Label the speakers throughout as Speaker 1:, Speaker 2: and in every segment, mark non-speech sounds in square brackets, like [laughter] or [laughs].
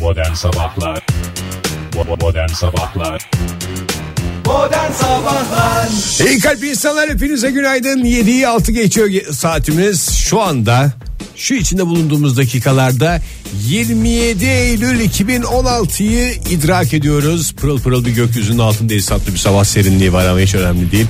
Speaker 1: Modern Sabahlar Bo- Modern Sabahlar
Speaker 2: Modern Sabahlar
Speaker 3: İyi kalp insanlar hepinize günaydın. 7'yi 6 geçiyor ge- saatimiz. Şu anda şu içinde bulunduğumuz dakikalarda 27 Eylül 2016'yı idrak ediyoruz. Pırıl pırıl bir gökyüzünün altındayız. Tatlı bir sabah serinliği var ama hiç önemli değil.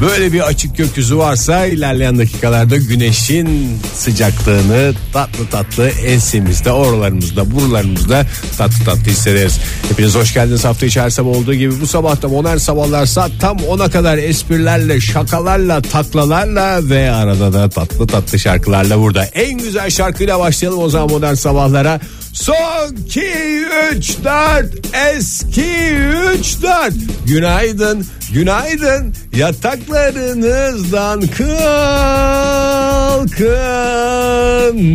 Speaker 3: Böyle bir açık gökyüzü varsa ilerleyen dakikalarda güneşin sıcaklığını tatlı tatlı ensemizde, oralarımızda, buralarımızda tatlı tatlı hissederiz. Hepiniz hoş geldiniz. Hafta içi her sabah olduğu gibi bu sabah da modern sabahlar saat tam 10'a kadar esprilerle, şakalarla, taklalarla ve arada da tatlı tatlı şarkılarla burada. En güzel şarkıyla başlayalım o zaman modern sabahlara. Son 2 3 4 eski 3 4 Günaydın, günaydın. Yataklarınızdan kalkın.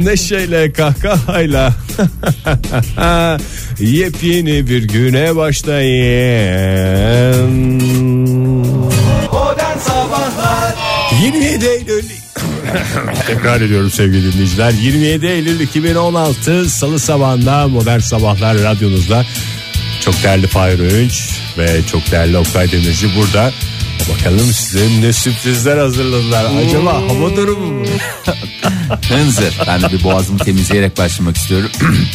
Speaker 3: Neşeyle kahkahayla. [laughs] Yepyeni bir güne başlayın.
Speaker 2: Modern Sabahlar
Speaker 3: 27 Eylül [laughs] Tekrar ediyorum sevgili dinleyiciler 27 Eylül 2016 Salı sabahında Modern Sabahlar radyonuzda Çok değerli Fahir Öğünç Ve çok değerli Oktay Demirci burada Bakalım size ne sürprizler hazırladılar Acaba hava durumu mu?
Speaker 4: Hınzır. Ben de bir boğazımı temizleyerek başlamak istiyorum. [clears throat]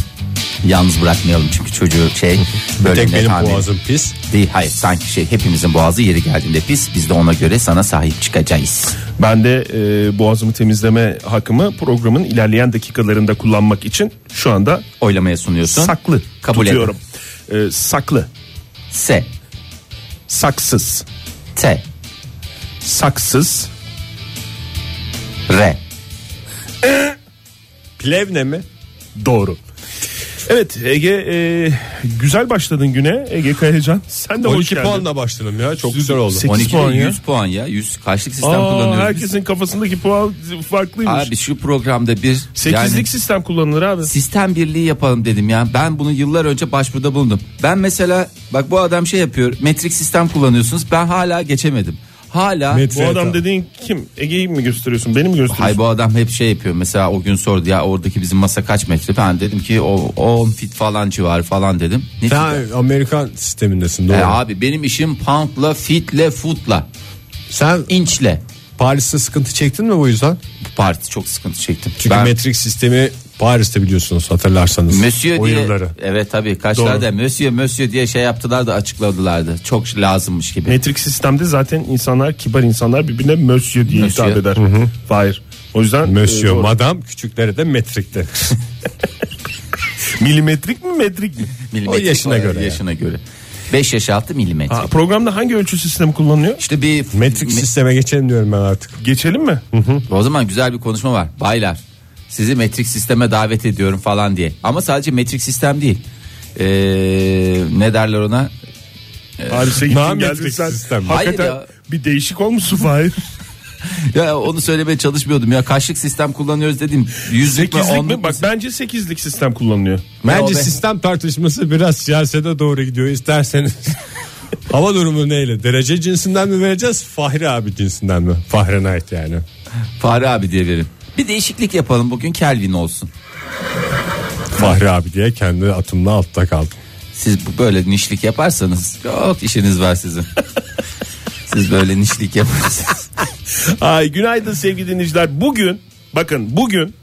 Speaker 4: Yalnız bırakmayalım çünkü çocuğu şey
Speaker 3: Bir tek
Speaker 4: bölümde
Speaker 3: benim
Speaker 4: tahmin-
Speaker 3: boğazım pis
Speaker 4: Değil hayır sanki şey hepimizin boğazı yeri geldiğinde pis biz de ona göre sana sahip çıkacağız.
Speaker 5: Ben de e, boğazımı temizleme hakkımı programın ilerleyen dakikalarında kullanmak için şu anda
Speaker 4: Oylamaya sunuyorsun.
Speaker 5: saklı
Speaker 4: Kabul
Speaker 5: tutuyorum. E, saklı,
Speaker 4: S.
Speaker 5: saksız,
Speaker 4: T.
Speaker 5: saksız,
Speaker 4: R.
Speaker 3: Plevne mi?
Speaker 5: doğru. Evet Ege e, güzel başladın güne Ege Kayacan. Sen de hoş
Speaker 3: 12
Speaker 5: geldin.
Speaker 3: puanla başladım ya çok güzel oldu
Speaker 5: Sekiz
Speaker 4: 12
Speaker 5: puan ya.
Speaker 4: 100 puan ya. 100 kaçlık sistem
Speaker 5: Aa,
Speaker 4: kullanıyoruz biz?
Speaker 5: herkesin kafasındaki puan farklıymış.
Speaker 4: Abi şu programda bir
Speaker 5: Sekizlik
Speaker 4: yani
Speaker 5: sistem kullanılır abi.
Speaker 4: sistem birliği yapalım dedim ya. Ben bunu yıllar önce başvuruda bulundum. Ben mesela bak bu adam şey yapıyor. Metrik sistem kullanıyorsunuz. Ben hala geçemedim. Hala
Speaker 5: Bu adam
Speaker 3: tamam.
Speaker 5: dediğin kim? Ege'yi mi gösteriyorsun? Beni mi gösteriyorsun?
Speaker 4: Hay bu adam hep şey yapıyor mesela o gün sordu ya oradaki bizim masa kaç metre ben dedim ki o 10 fit falan civarı falan dedim. Ne fiti?
Speaker 3: Sen Amerikan sistemindesin doğru
Speaker 4: E abi benim işim poundla fitle footla
Speaker 3: Sen
Speaker 4: inçle
Speaker 3: Paris'te sıkıntı çektin mi bu yüzden?
Speaker 4: parti çok sıkıntı çektim.
Speaker 3: Çünkü metrik sistemi Paris'te biliyorsunuz hatırlarsanız
Speaker 4: Monsieur
Speaker 3: O
Speaker 4: diye
Speaker 3: yılları.
Speaker 4: evet tabii kaçlarda Monsieur Monsieur diye şey yaptılar da açıkladılardı. Çok lazımmış gibi.
Speaker 5: Metrik sistemde zaten insanlar kibar insanlar birbirine mösyö diye
Speaker 4: Mösyö.
Speaker 5: hitap eder. Hayır. O yüzden
Speaker 3: Monsieur
Speaker 5: e, doğru.
Speaker 3: madam küçüklere
Speaker 4: [laughs]
Speaker 3: de metrikte.
Speaker 5: e, milimetrik mi metrik mi?
Speaker 4: Milimetrik
Speaker 3: o yaşına göre
Speaker 4: Yaşına göre. 5 yaş altı milimetre.
Speaker 5: Ha, programda hangi ölçü sistemi kullanılıyor?
Speaker 4: İşte bir
Speaker 3: Metrik
Speaker 4: me-
Speaker 3: sisteme geçelim diyorum ben artık.
Speaker 5: Geçelim mi?
Speaker 4: O zaman güzel bir konuşma var. Baylar sizi metrik sisteme davet ediyorum falan diye. Ama sadece metrik sistem değil. Ee, ne derler ona?
Speaker 5: Paris'e gittin
Speaker 3: Nametrik
Speaker 5: geldin sen.
Speaker 3: sistem.
Speaker 5: Hakikaten
Speaker 4: Hayır ya.
Speaker 5: bir değişik
Speaker 4: [laughs]
Speaker 5: olmuşsun Fahir.
Speaker 4: Ya onu söylemeye çalışmıyordum ya. Kaçlık sistem kullanıyoruz dedim. Yüzlük mü
Speaker 5: Sekizlik
Speaker 4: onluk mu?
Speaker 5: mi? Bak bence sekizlik sistem kullanılıyor.
Speaker 3: Bence
Speaker 4: be.
Speaker 3: sistem tartışması biraz siyasete doğru
Speaker 4: [laughs]
Speaker 3: gidiyor isterseniz. Hava durumu neyle? Derece cinsinden mi vereceğiz? Fahri abi cinsinden mi? Fahrenheit yani.
Speaker 4: Fahri abi diye verin. Bir değişiklik yapalım bugün Kelvin olsun.
Speaker 3: Fahri abi diye kendi atımla altta kaldım.
Speaker 4: Siz bu böyle nişlik yaparsanız çok işiniz var
Speaker 5: [laughs]
Speaker 4: sizin. Siz böyle nişlik yaparsanız.
Speaker 5: Ay günaydın sevgili dinleyiciler. Bugün bakın bugün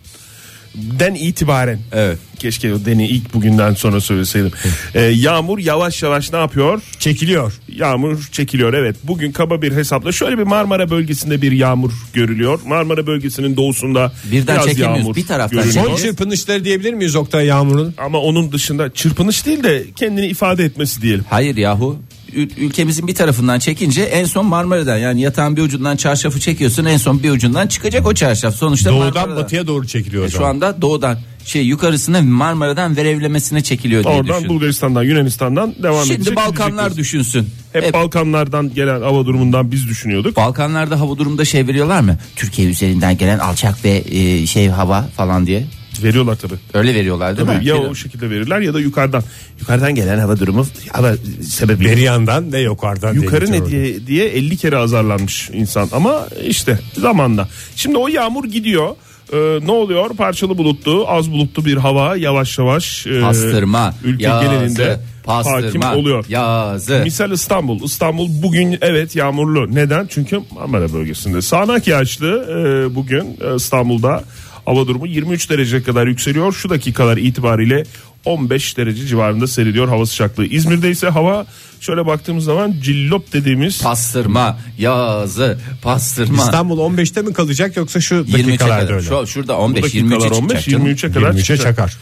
Speaker 5: den itibaren
Speaker 4: Evet.
Speaker 5: keşke o deni ilk bugünden sonra söyleseydim. Ee, yağmur yavaş yavaş ne yapıyor?
Speaker 3: Çekiliyor.
Speaker 5: Yağmur çekiliyor evet. Bugün kaba bir hesapla şöyle bir Marmara bölgesinde bir yağmur görülüyor. Marmara bölgesinin doğusunda
Speaker 4: Birden
Speaker 5: biraz
Speaker 4: çekemiyoruz.
Speaker 5: yağmur
Speaker 4: Bir taraftan
Speaker 5: görülüyor.
Speaker 3: Son çırpınışları diyebilir miyiz Oktay Yağmur'un?
Speaker 5: Ama onun dışında çırpınış değil de kendini ifade etmesi diyelim.
Speaker 4: Hayır yahu Ül- ülkemizin bir tarafından çekince en son Marmara'dan yani yatağın bir ucundan çarşafı çekiyorsun en son bir ucundan çıkacak o çarşaf sonuçta
Speaker 3: Doğudan
Speaker 4: Marmara'dan.
Speaker 3: batıya doğru çekiliyor.
Speaker 4: E, şu anda doğudan şey yukarısına Marmara'dan verevlemesine çekiliyor diye
Speaker 5: Oradan
Speaker 4: düşün.
Speaker 5: Bulgaristan'dan Yunanistan'dan devam
Speaker 4: Şimdi
Speaker 5: edecek.
Speaker 4: Balkanlar
Speaker 5: gidecek.
Speaker 4: düşünsün. E,
Speaker 5: Hep,
Speaker 4: Hep
Speaker 5: Balkanlardan gelen hava durumundan biz düşünüyorduk.
Speaker 4: Balkanlarda hava durumda şey veriyorlar mı? Türkiye üzerinden gelen alçak ve e, şey hava falan diye.
Speaker 5: Veriyorlar tabii.
Speaker 4: Öyle veriyorlar değil
Speaker 5: Tabii
Speaker 4: mi?
Speaker 5: ya
Speaker 4: Bir-
Speaker 5: o e, şekilde verirler ya da yukarıdan. Yukarıdan gelen hava durumu hava sebebi.
Speaker 3: Beri yandan ve yukarıdan. diye
Speaker 5: Yukarı
Speaker 3: geçiyor
Speaker 5: ne diye diye 50 kere azarlanmış insan ama işte zamanla. Şimdi o yağmur gidiyor. Ee, ne oluyor? Parçalı bulutlu, az bulutlu bir hava yavaş yavaş e,
Speaker 4: Pastırma.
Speaker 5: ülke
Speaker 4: yazı,
Speaker 5: genelinde
Speaker 4: pastırma,
Speaker 5: hakim oluyor.
Speaker 4: Yazı.
Speaker 5: Misal İstanbul. İstanbul bugün evet yağmurlu. Neden? Çünkü Marmara bölgesinde. Sağanak yağışlı e, bugün e, İstanbul'da hava durumu 23 derece kadar yükseliyor. Şu dakikalar itibariyle 15 derece civarında seyrediyor hava sıcaklığı. İzmir'de ise hava şöyle baktığımız zaman cillop dediğimiz
Speaker 4: pastırma, yazı, pastırma.
Speaker 3: İstanbul 15'te mi kalacak yoksa şu
Speaker 4: 23'e
Speaker 3: dakikalarda
Speaker 4: kadar.
Speaker 3: öyle?
Speaker 4: Şu, şurada
Speaker 5: bu
Speaker 4: 15 23'e
Speaker 5: dakikalar
Speaker 4: çıkacak
Speaker 5: 15
Speaker 4: canım.
Speaker 5: 23'e kadar
Speaker 3: 23'e
Speaker 5: çıkacak.
Speaker 3: çakar.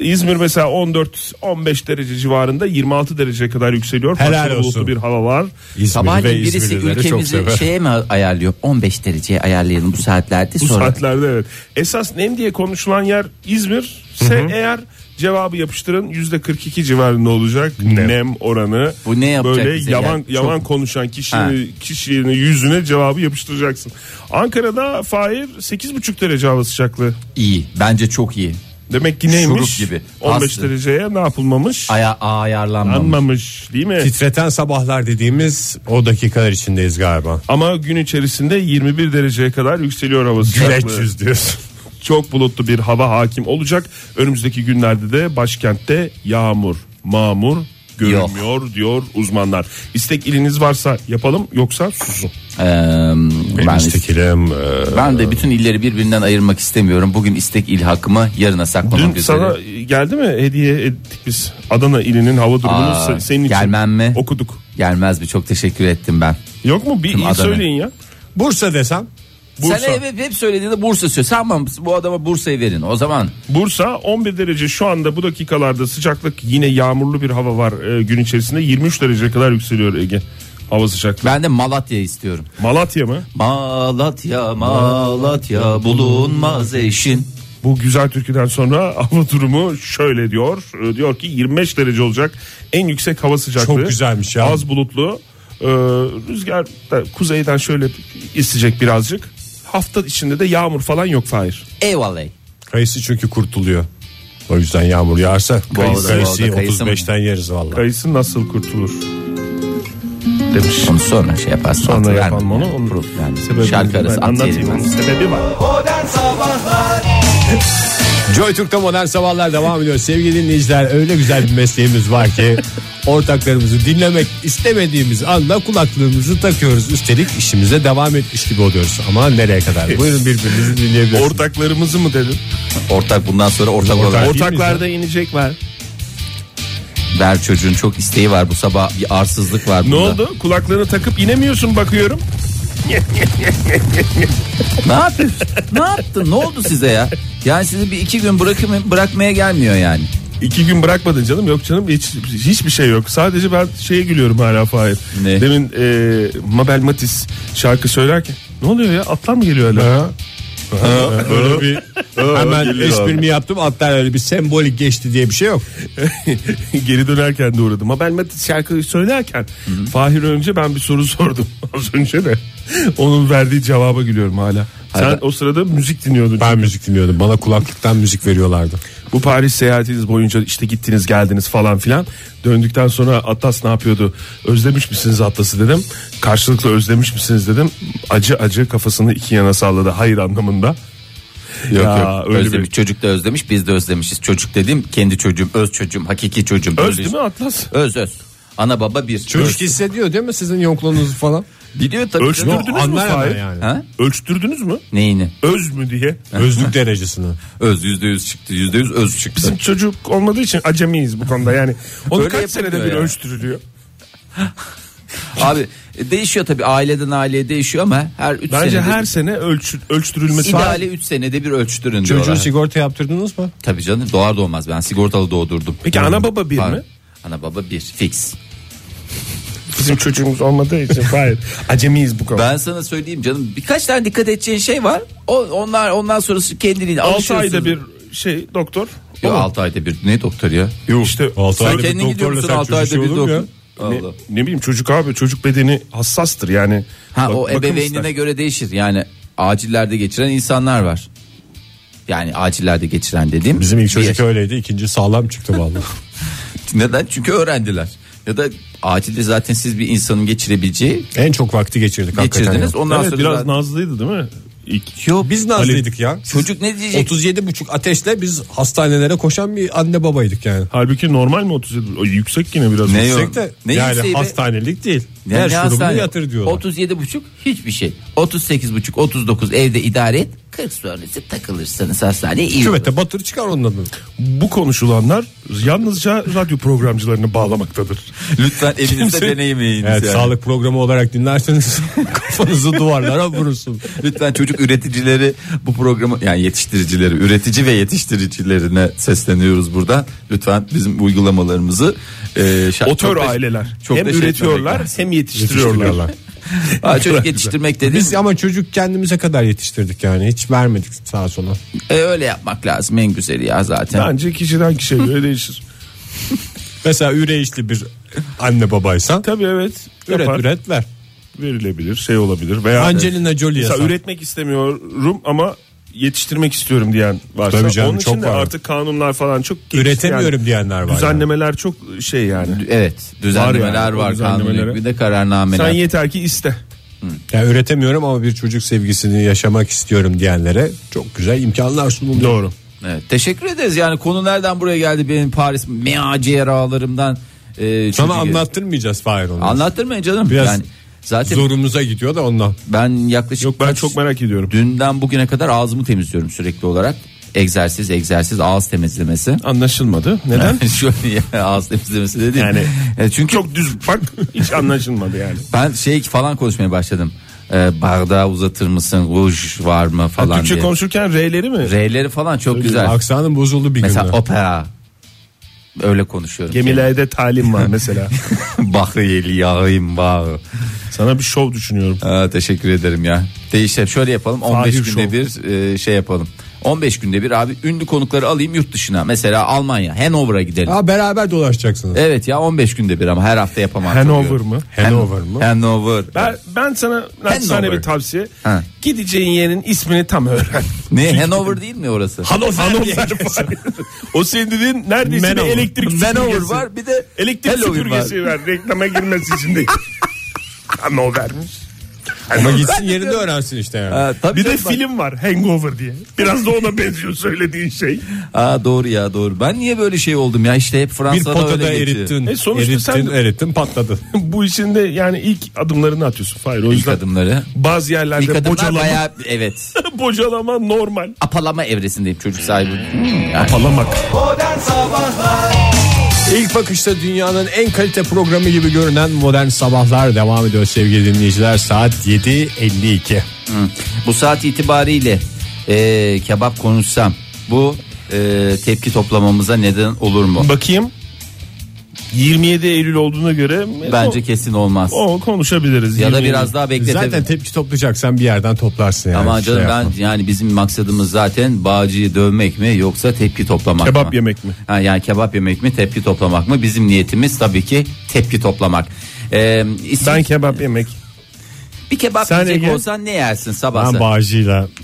Speaker 5: Ee, İzmir mesela 14-15 derece civarında 26 derece kadar yükseliyor.
Speaker 3: Helal
Speaker 5: Parçalı bulutlu
Speaker 3: olsun.
Speaker 5: bir hava var.
Speaker 4: Sabahleyin hani birisi ülkemizi şey- şeye mi ayarlıyor? 15 dereceye ayarlayalım bu saatlerde
Speaker 5: Bu
Speaker 4: sonra.
Speaker 5: saatlerde evet. Esas nem diye konuşulan yer İzmir ise eğer cevabı yapıştırın yüzde 42 civarında olacak nem, oranı.
Speaker 4: Bu ne yapacak
Speaker 5: Böyle
Speaker 4: bize
Speaker 5: yavan
Speaker 4: ya? Çok-
Speaker 5: yavan konuşan kişinin
Speaker 4: Ha.
Speaker 5: kişinin yüzüne cevabı yapıştıracaksın. Ankara'da Fahir 8,5 derece hava sıcaklığı.
Speaker 4: İyi. Bence çok iyi.
Speaker 5: Demek ki neymiş?
Speaker 4: Şurup gibi.
Speaker 5: 15
Speaker 4: Aslı.
Speaker 5: dereceye ne yapılmamış?
Speaker 4: Aya ayarlanmamış.
Speaker 5: Anmamış değil mi?
Speaker 3: Titreten sabahlar dediğimiz o dakikalar içindeyiz galiba.
Speaker 5: Ama gün içerisinde 21 dereceye kadar yükseliyor hava
Speaker 3: Güleç
Speaker 5: sıcaklığı.
Speaker 3: yüz diyorsun.
Speaker 5: Çok bulutlu bir hava hakim olacak. Önümüzdeki günlerde de başkentte yağmur, mamur görünmüyor diyor uzmanlar. İstek iliniz varsa yapalım yoksa susun.
Speaker 4: Ee,
Speaker 3: Benim
Speaker 4: ben,
Speaker 3: istekilim, e,
Speaker 4: ben de bütün illeri birbirinden ayırmak istemiyorum. Bugün istek il hakkımı yarına saklamam
Speaker 5: Dün
Speaker 4: üzere.
Speaker 5: sana geldi mi hediye ettik biz Adana ilinin hava durumunu
Speaker 4: Aa,
Speaker 5: se- senin için
Speaker 4: gelmem mi?
Speaker 5: okuduk.
Speaker 4: Gelmez bir çok teşekkür ettim ben.
Speaker 5: Yok mu bir
Speaker 4: Tüm
Speaker 5: il
Speaker 4: Adana.
Speaker 5: söyleyin ya.
Speaker 3: Bursa desem
Speaker 5: Bursa.
Speaker 4: Sen hep, hep söylediğinde Bursa söylüyor. Tamam bu adama Bursa'yı verin. O zaman
Speaker 5: Bursa 11 derece şu anda bu dakikalarda sıcaklık yine yağmurlu bir hava var e, gün içerisinde 23 derece kadar yükseliyor Ege hava sıcaklığı.
Speaker 4: ben de Malatya istiyorum.
Speaker 5: Malatya mı?
Speaker 4: Malatya Malatya bulunmaz eşin.
Speaker 5: Bu güzel türküden sonra [laughs] hava durumu şöyle diyor. E, diyor ki 25 derece olacak en yüksek hava sıcaklığı.
Speaker 3: Çok güzelmiş ya.
Speaker 5: Az bulutlu E, rüzgar da kuzeyden şöyle isteyecek birazcık. Hafta içinde de yağmur falan yok Fahir.
Speaker 4: Eyvallah.
Speaker 3: kayısı çünkü kurtuluyor. O yüzden yağmur yağarsa
Speaker 4: arada-
Speaker 3: kayısı,
Speaker 4: bu
Speaker 3: kayısı
Speaker 4: arada kayısı mı?
Speaker 3: 35'ten yeriz vallahi.
Speaker 5: Kayısı nasıl kurtulur? Demiş.
Speaker 4: Onu sonra şey yaparsın.
Speaker 5: Sonra
Speaker 4: Altı
Speaker 5: yapalım
Speaker 4: verme.
Speaker 5: onu. Onun
Speaker 4: Pro- yani
Speaker 5: sebebini
Speaker 4: şarkı
Speaker 5: ben
Speaker 4: arası atı
Speaker 5: anlatayım.
Speaker 4: yerim ben.
Speaker 5: Onun sebebi var.
Speaker 2: Modern Sabahlar
Speaker 3: Joy Türk'te modern sabahlar devam ediyor. Sevgili dinleyiciler öyle güzel bir mesleğimiz var ki ortaklarımızı dinlemek istemediğimiz anda kulaklığımızı takıyoruz. Üstelik işimize devam etmiş gibi oluyoruz. Ama nereye [laughs] kadar? Buyurun birbirinizi dinleyebilirsiniz.
Speaker 5: Ortaklarımızı mı dedin?
Speaker 4: Ortak bundan sonra ortak
Speaker 3: Ortak.
Speaker 4: olarak.
Speaker 3: miyiz
Speaker 5: Ortaklarda inecek var.
Speaker 4: Ver çocuğun çok isteği var bu sabah bir arsızlık var
Speaker 5: Ne
Speaker 4: bunda.
Speaker 5: oldu? Kulaklarını takıp inemiyorsun bakıyorum.
Speaker 4: Ne yaptın? ne yaptın? Ne oldu size ya? Yani sizi bir iki gün bırakım, bırakmaya gelmiyor yani.
Speaker 5: İki gün bırakmadın canım. Yok canım hiç hiçbir şey yok. Sadece ben şeye gülüyorum hala Fahir.
Speaker 4: Ne?
Speaker 5: Demin e, Mabel Matiz şarkı söylerken ne oluyor ya? Atlar mı geliyor hala?
Speaker 3: Böyle bir hemen
Speaker 5: geliyor
Speaker 3: esprimi yaptım. Hatta öyle bir sembolik geçti diye bir şey yok.
Speaker 5: [laughs] Geri dönerken de uğradım. Mabel Matiz şarkıyı söylerken Fahir önce ben bir soru [laughs] sordum az önce de. Onun verdiği cevaba gülüyorum hala. Sen
Speaker 4: Hayır, ben-
Speaker 5: o sırada müzik dinliyordun.
Speaker 3: Ben müzik dinliyordum. Bana kulaklıktan müzik veriyorlardı.
Speaker 5: Bu Paris seyahatiniz boyunca işte gittiniz geldiniz falan filan. Döndükten sonra Atlas ne yapıyordu? Özlemiş misiniz Atlas'ı dedim. Karşılıklı özlemiş misiniz dedim. Acı acı kafasını iki yana salladı hayır anlamında.
Speaker 4: Yok
Speaker 5: Ya,
Speaker 4: yok.
Speaker 5: öyle
Speaker 4: özlemiş.
Speaker 5: bir-
Speaker 4: Çocuk da özlemiş biz de özlemişiz. Çocuk dediğim kendi çocuğum öz çocuğum hakiki çocuğum.
Speaker 5: Öz değil mi Atlas?
Speaker 4: Öz öz. Ana baba bir. Öz.
Speaker 3: Çocuk hissediyor değil mi sizin yonkluğunuzu falan?
Speaker 4: Biliyor tabii.
Speaker 5: Ölçtürdünüz
Speaker 4: canım.
Speaker 5: mü
Speaker 3: anlar hemen
Speaker 5: Fahir?
Speaker 3: yani.
Speaker 4: Ha?
Speaker 5: Ölçtürdünüz mü?
Speaker 4: Neyini?
Speaker 5: Öz mü diye.
Speaker 3: Özlük derecesini.
Speaker 4: Öz yüzde yüz çıktı. Yüzde yüz öz çıktı.
Speaker 5: Bizim çocuk olmadığı için acemiyiz bu konuda yani. Onu
Speaker 4: Öyle
Speaker 5: kaç senede bir
Speaker 4: yapılıyor ya.
Speaker 5: ölçtürülüyor.
Speaker 4: [laughs] Abi e, değişiyor tabii aileden aileye değişiyor ama her 3
Speaker 5: Bence
Speaker 4: senede
Speaker 5: her sene ölçü, ölçtürülmesi.
Speaker 4: ideali 3 senede bir ölçtürün
Speaker 3: Çocuğu
Speaker 4: diyorlar.
Speaker 3: sigorta yaptırdınız mı?
Speaker 4: Tabii canım doğar doğmaz ben sigortalı doğdurdum.
Speaker 5: Peki ana baba bir
Speaker 4: Pardon.
Speaker 5: mi?
Speaker 4: Ana baba bir fix.
Speaker 5: Bizim çocuğumuz olmadığı
Speaker 4: [laughs]
Speaker 5: için hayır. Acemiyiz bu konuda.
Speaker 4: Ben sana söyleyeyim canım birkaç tane dikkat edeceğin şey var. O, onlar ondan sonrası kendini
Speaker 5: 6 ayda bir şey doktor.
Speaker 4: Yok
Speaker 5: O mu?
Speaker 4: 6 ayda bir ne doktor ya?
Speaker 5: İşte
Speaker 3: Altı
Speaker 5: Sen
Speaker 3: ayda
Speaker 4: Kendin
Speaker 3: doktorla
Speaker 4: gidiyor musun
Speaker 3: sen
Speaker 4: 6 ayda
Speaker 3: çocuk
Speaker 4: bir
Speaker 3: şey olur mu
Speaker 4: doktor?
Speaker 3: ya?
Speaker 5: Ne,
Speaker 4: Allah.
Speaker 5: ne bileyim çocuk abi çocuk bedeni hassastır yani.
Speaker 4: Ha
Speaker 5: Bak-
Speaker 4: o
Speaker 5: bakım
Speaker 4: ebeveynine
Speaker 5: ister.
Speaker 4: göre değişir. Yani acillerde geçiren insanlar var. Yani acillerde geçiren dediğim.
Speaker 3: Bizim ilk
Speaker 4: bir
Speaker 3: çocuk
Speaker 4: yaş-
Speaker 3: öyleydi. İkinci sağlam çıktı vallahi.
Speaker 4: Neden? Çünkü öğrendiler. Ya da acilde zaten siz bir insanın geçirebileceği
Speaker 3: en çok vakti geçirdik hakikaten.
Speaker 4: geçirdiniz.
Speaker 3: ya.
Speaker 4: Ondan
Speaker 5: evet,
Speaker 4: sonra
Speaker 5: biraz
Speaker 4: zaten-
Speaker 5: nazlıydı değil mi? ilk.
Speaker 4: Yok.
Speaker 3: Biz nazlıydık ya.
Speaker 4: Çocuk ne diyecek?
Speaker 3: 37 buçuk ateşle biz hastanelere koşan bir anne babaydık yani.
Speaker 5: Halbuki normal mi 37? O Yüksek yine biraz.
Speaker 4: Ne
Speaker 5: yüksek
Speaker 4: yok?
Speaker 5: de.
Speaker 4: Ne
Speaker 5: yani
Speaker 4: yükseği be?
Speaker 5: hastanelik değil.
Speaker 4: Ne- ne
Speaker 3: Her şurubunu
Speaker 4: hastane?
Speaker 3: yatır diyorlar.
Speaker 4: 37,5 hiçbir şey. 38,5 39 evde idare et. 40 sonrası takılırsanız hastaneye iyi olur.
Speaker 3: Küvete batır çıkar onun adını.
Speaker 5: Bu konuşulanlar yalnızca radyo programcılarını bağlamaktadır.
Speaker 4: [laughs] Lütfen evinizde
Speaker 5: Kimse-
Speaker 4: deneyimleyiniz.
Speaker 3: Evet,
Speaker 4: yani.
Speaker 3: sağlık programı olarak dinlerseniz [laughs] kafanızı duvarlara vurursun.
Speaker 4: [laughs] Lütfen çocuk üreticileri bu programı yani yetiştiricileri, üretici ve yetiştiricilerine sesleniyoruz buradan. Lütfen bizim uygulamalarımızı e, şa-
Speaker 5: Otör
Speaker 4: çok da-
Speaker 5: aileler.
Speaker 4: çok
Speaker 5: hem
Speaker 4: da şey
Speaker 5: üretiyorlar
Speaker 4: etmemek
Speaker 5: hem yetiştiriyorlar.
Speaker 4: lazım. Ha,
Speaker 5: [laughs]
Speaker 4: çocuk yetiştirmek dediğim
Speaker 3: Biz ama çocuk kendimize kadar yetiştirdik yani. Hiç vermedik sağa sola.
Speaker 4: e, öyle yapmak lazım en güzeli ya zaten.
Speaker 5: Bence kişiden kişiye göre değişir.
Speaker 3: Mesela üreyişli bir anne babaysan
Speaker 5: Tabii evet.
Speaker 3: üret
Speaker 5: yapar.
Speaker 3: üret ver.
Speaker 5: Verilebilir şey olabilir. Veya
Speaker 3: Angelina Jolie'ye
Speaker 5: Mesela
Speaker 3: sat.
Speaker 5: üretmek istemiyorum ama yetiştirmek istiyorum diyen varsa.
Speaker 3: Tabii canım,
Speaker 5: Onun için
Speaker 3: çok
Speaker 5: de
Speaker 3: var.
Speaker 5: artık kanunlar falan çok gelişti
Speaker 3: Üretemiyorum
Speaker 5: yani.
Speaker 3: diyenler var. yani.
Speaker 5: Düzenlemeler çok şey yani.
Speaker 4: Evet düzenlemeler
Speaker 5: yani,
Speaker 4: var,
Speaker 5: o düzenlemelere.
Speaker 4: kanun bir de kararnameler.
Speaker 5: Sen yeter ki iste.
Speaker 3: Yani üretemiyorum ama bir çocuk sevgisini yaşamak istiyorum diyenlere çok güzel imkanlar sunuluyor.
Speaker 5: Doğru.
Speaker 4: Evet, teşekkür ederiz yani konu nereden buraya geldi benim Paris meaceralarımdan. E,
Speaker 3: Sana
Speaker 4: çocuk-
Speaker 3: anlattırmayacağım Fahir onu.
Speaker 4: Anlattırmayın canım.
Speaker 3: Biraz
Speaker 4: yani, zaten
Speaker 3: Zorumuza gidiyor da ondan.
Speaker 4: ben yaklaşık
Speaker 5: Yok ben
Speaker 4: kaç-
Speaker 5: çok merak ediyorum.
Speaker 4: Dünden bugüne kadar ağzımı temizliyorum sürekli olarak. Egzersiz egzersiz ağız temizlemesi.
Speaker 5: Anlaşılmadı. Neden?
Speaker 4: [laughs] Şöyle ya, ağız temizlemesi dediğim.
Speaker 5: Yani-
Speaker 4: E, çünkü
Speaker 5: [laughs] çok düz bak hiç anlaşılmadı yani.
Speaker 4: ben şey falan konuşmaya başladım. E, bardağı uzatır mısın? Ruj var mı [laughs] falan
Speaker 5: Türkçe
Speaker 4: diye.
Speaker 5: konuşurken R'leri mi?
Speaker 4: R'leri falan çok güzel.
Speaker 3: Aksanın bozuldu bir
Speaker 4: Mesela
Speaker 3: günde.
Speaker 4: opera. Öyle konuşuyorum.
Speaker 5: Gemilerde talim var mesela.
Speaker 4: [laughs] Bahriyeli yağayım bağ.
Speaker 5: Sana bir şov düşünüyorum.
Speaker 4: Aa, teşekkür ederim ya. Değişelim şöyle yapalım 15
Speaker 5: Fahir
Speaker 4: günde
Speaker 5: Show.
Speaker 4: bir e, şey yapalım. 15 günde bir abi ünlü konukları alayım yurt dışına. Mesela Almanya Hanover'a gidelim.
Speaker 3: Ha, beraber dolaşacaksınız.
Speaker 4: Evet ya 15 günde bir ama her hafta yapamam.
Speaker 5: Hanover mı?
Speaker 3: Hanover mı?
Speaker 4: Hanover.
Speaker 5: Ben, ben sana naçizane
Speaker 4: Hanover.
Speaker 5: bir tavsiye.
Speaker 4: Ha.
Speaker 5: Gideceğin yerin ismini tam öğren.
Speaker 4: Ne Hanover değil mi orası?
Speaker 5: Hanover. var. o senin dediğin neredeyse bir
Speaker 3: Manover.
Speaker 5: elektrik
Speaker 4: Hanover
Speaker 5: süpürgesi.
Speaker 4: var bir de
Speaker 5: Elektrik
Speaker 4: Hanover
Speaker 5: süpürgesi var. Reklama girmesi
Speaker 4: [laughs]
Speaker 5: için değil. Hanover'miş.
Speaker 3: Ama gitsin yerini öğrensin işte yani.
Speaker 4: Ha, tabii
Speaker 5: Bir de
Speaker 4: canım, bak-
Speaker 5: film var Hangover diye. Biraz da ona benziyor söylediğin şey.
Speaker 4: Aa, doğru ya doğru. Ben niye böyle şey oldum ya işte hep
Speaker 3: bir
Speaker 4: Fransa'da
Speaker 3: potada
Speaker 4: öyle geçiyor.
Speaker 3: erittin,
Speaker 5: E sonuçta
Speaker 3: erittin,
Speaker 5: sen-
Speaker 3: erittin patladı.
Speaker 5: Bu işin de yani ilk adımlarını atıyorsun. Hayır o
Speaker 4: İlk
Speaker 5: yüzden
Speaker 4: adımları.
Speaker 5: bazı yerlerde
Speaker 4: İlk adımlar
Speaker 5: bocalama,
Speaker 4: bayağı evet.
Speaker 5: [laughs] bocalama normal.
Speaker 4: Apalama evresindeyim çocuk sahibi. Hmm, yani.
Speaker 5: Apalamak.
Speaker 2: Modern Sabahlar
Speaker 3: İlk bakışta dünyanın en kalite programı gibi görünen Modern Sabahlar devam ediyor sevgili dinleyiciler. Saat 7.52.
Speaker 4: Bu saat itibariyle e, kebap konuşsam bu e, tepki toplamamıza neden olur mu?
Speaker 5: Bakayım 27 Eylül olduğuna göre
Speaker 4: Bence kesin olmaz.
Speaker 5: o, o konuşabiliriz.
Speaker 4: Ya da
Speaker 5: 27.
Speaker 4: biraz daha bekletelim.
Speaker 3: Zaten tepki toplayacaksan bir yerden toplarsın yani.
Speaker 4: Ama
Speaker 3: Şey
Speaker 4: canım
Speaker 3: yapma.
Speaker 4: ben yani bizim maksadımız zaten bağcıyı dövmek mi yoksa tepki toplamak mı?
Speaker 5: Kebap yemek mi?
Speaker 4: Ha, yani kebap yemek mi tepki toplamak mı? Bizim niyetimiz tabii ki tepki toplamak. Ee, isim-
Speaker 5: ben kebap yemek.
Speaker 4: bir kebap
Speaker 5: Sen
Speaker 4: yiyecek
Speaker 5: Ege-
Speaker 4: olsan ne yersin sabah?
Speaker 3: Ben
Speaker 4: sen?
Speaker 3: bağcıyla [laughs]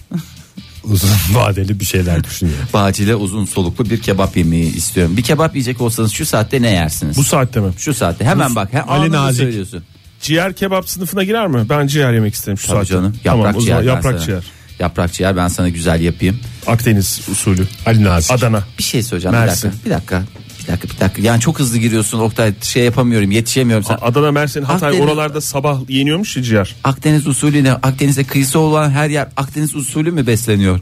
Speaker 3: uzun vadeli bir şeyler düşünüyorum.
Speaker 4: Bağcıyla uzun soluklu bir kebap yemeği istiyorum. Bir kebap yiyecek olsanız şu saatte ne yersiniz?
Speaker 5: Bu saatte mi?
Speaker 4: şu saatte hemen bak. He,
Speaker 3: Ali
Speaker 4: anında
Speaker 3: Nazik.
Speaker 4: söylüyorsun.
Speaker 5: Ciğer kebap sınıfına girer mi? Ben ciğer yemek isterim şu
Speaker 4: Tabii
Speaker 5: saatte.
Speaker 4: canım. Yaprak
Speaker 5: Tamam, o
Speaker 4: ciğer.
Speaker 5: zaman
Speaker 4: ben
Speaker 5: yaprak
Speaker 4: sana-
Speaker 5: ciğer.
Speaker 4: Yaprak ciğer ben sana güzel yapayım.
Speaker 5: Akdeniz usulü.
Speaker 3: Ali Nazik.
Speaker 5: Adana.
Speaker 4: Bir şey söyleyeceğim
Speaker 5: Mersin.
Speaker 4: bir dakika. Bir dakika. Bir dakika bir dakika. Yani çok hızlı giriyorsun Oktay şey yapamıyorum yetişemiyorum. Sen
Speaker 5: Adana, Mersin, Hatay
Speaker 4: Akdeniz-
Speaker 5: oralarda sabah yeniyormuş ya ciğer.
Speaker 4: Akdeniz usulü ne? Akdeniz'de kıyısı olan her yer Akdeniz usulü mü besleniyor?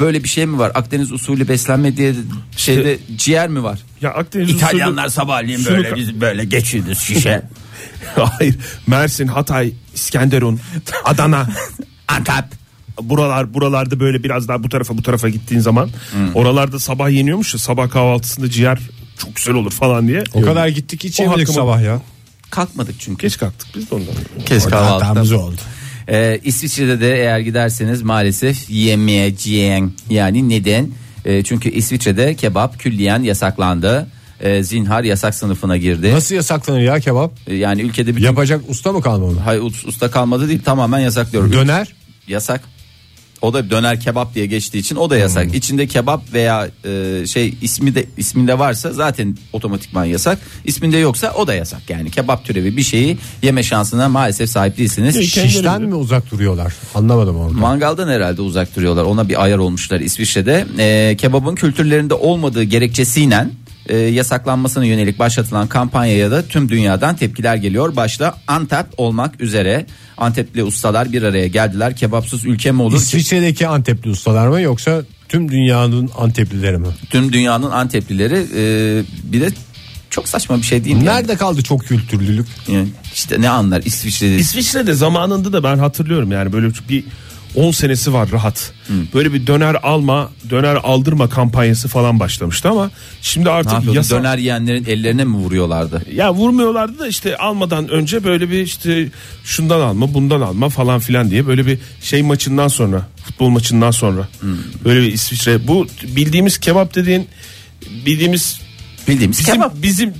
Speaker 4: Böyle bir şey mi var? Akdeniz usulü beslenme diye şeyde ciğer mi var?
Speaker 5: Ya Akdeniz
Speaker 4: Şey- İtalyanlar sabahleyin
Speaker 5: Sunuka.
Speaker 4: böyle biz böyle geçiyoruz şişe.
Speaker 5: usulü. [laughs] Hayır. Mersin, Hatay, İskenderun, Adana.
Speaker 4: Antep.
Speaker 5: Buralar buralarda böyle biraz daha bu tarafa bu tarafa gittiğin zaman
Speaker 4: Hmm.
Speaker 5: oralarda sabah yeniyormuş ya sabah kahvaltısında ciğer çok güzel olur falan diye.
Speaker 3: O kadar gittik hiç
Speaker 5: O
Speaker 3: yemedik
Speaker 5: hakkımı-
Speaker 3: sabah ya.
Speaker 4: Kalkmadık çünkü.
Speaker 5: Geç kalktık biz de ondan.
Speaker 4: Kes
Speaker 3: Hatamız oldu.
Speaker 4: Ee, İsviçre'de de eğer giderseniz maalesef yemeyeceğin yani neden? Ee, çünkü İsviçre'de kebap külliyen yasaklandı. Ee, zinhar yasak sınıfına girdi.
Speaker 3: Nasıl yasaklanır ya kebap?
Speaker 4: Ee, yani ülkede bir
Speaker 3: Yapacak usta mı kalmalı?
Speaker 4: hay, usta kalmadı değil tamamen yasaklıyor.
Speaker 3: Döner.
Speaker 4: Yasak. O da döner kebap diye geçtiği için o da yasak. İçinde kebap veya e, şey ismi de isminde varsa zaten otomatikman yasak. İsminde yoksa o da yasak. Yani kebap türevi bir şeyi yeme şansına maalesef sahip değilsiniz.
Speaker 5: Peki. Kendileri
Speaker 3: Şişten
Speaker 5: bilir.
Speaker 3: mi uzak duruyorlar? Anlamadım orada.
Speaker 4: Mangaldan herhalde uzak duruyorlar. Ona bir ayar olmuşlar İsviçre'de. Ee, kebabın kültürlerinde olmadığı gerekçesiyle e, yasaklanmasına yönelik başlatılan kampanyaya da tüm dünyadan tepkiler geliyor. Başta Antep olmak üzere Antepli ustalar bir araya geldiler. Kebapsız ülke mi olur?
Speaker 3: İsviçre'deki Antepli ustalar mı yoksa tüm dünyanın Anteplileri mi?
Speaker 4: Tüm dünyanın Anteplileri e, bir de çok saçma bir şey değil mi? Yani-
Speaker 3: Nerede kaldı çok kültürlülük?
Speaker 4: Yani işte ne anlar İsviçre'de
Speaker 5: İsviçre'de zamanında da ben hatırlıyorum yani böyle bir 10 senesi var rahat.
Speaker 4: Hmm.
Speaker 5: Böyle bir döner alma, döner aldırma kampanyası falan başlamıştı ama şimdi
Speaker 4: ne
Speaker 5: artık
Speaker 4: yapıyordu?
Speaker 5: yasa
Speaker 4: Döner yiyenlerin ellerine mi vuruyorlardı?
Speaker 5: ya vurmuyorlardı da işte almadan önce böyle bir işte şundan alma, bundan alma falan filan diye böyle bir şey maçından sonra, futbol maçından sonra
Speaker 4: Hmm.
Speaker 5: böyle bir İsviçre bu bildiğimiz kebap dediğin bildiğimiz
Speaker 4: Bildiğimiz
Speaker 5: bizim
Speaker 4: kebap.
Speaker 5: bizim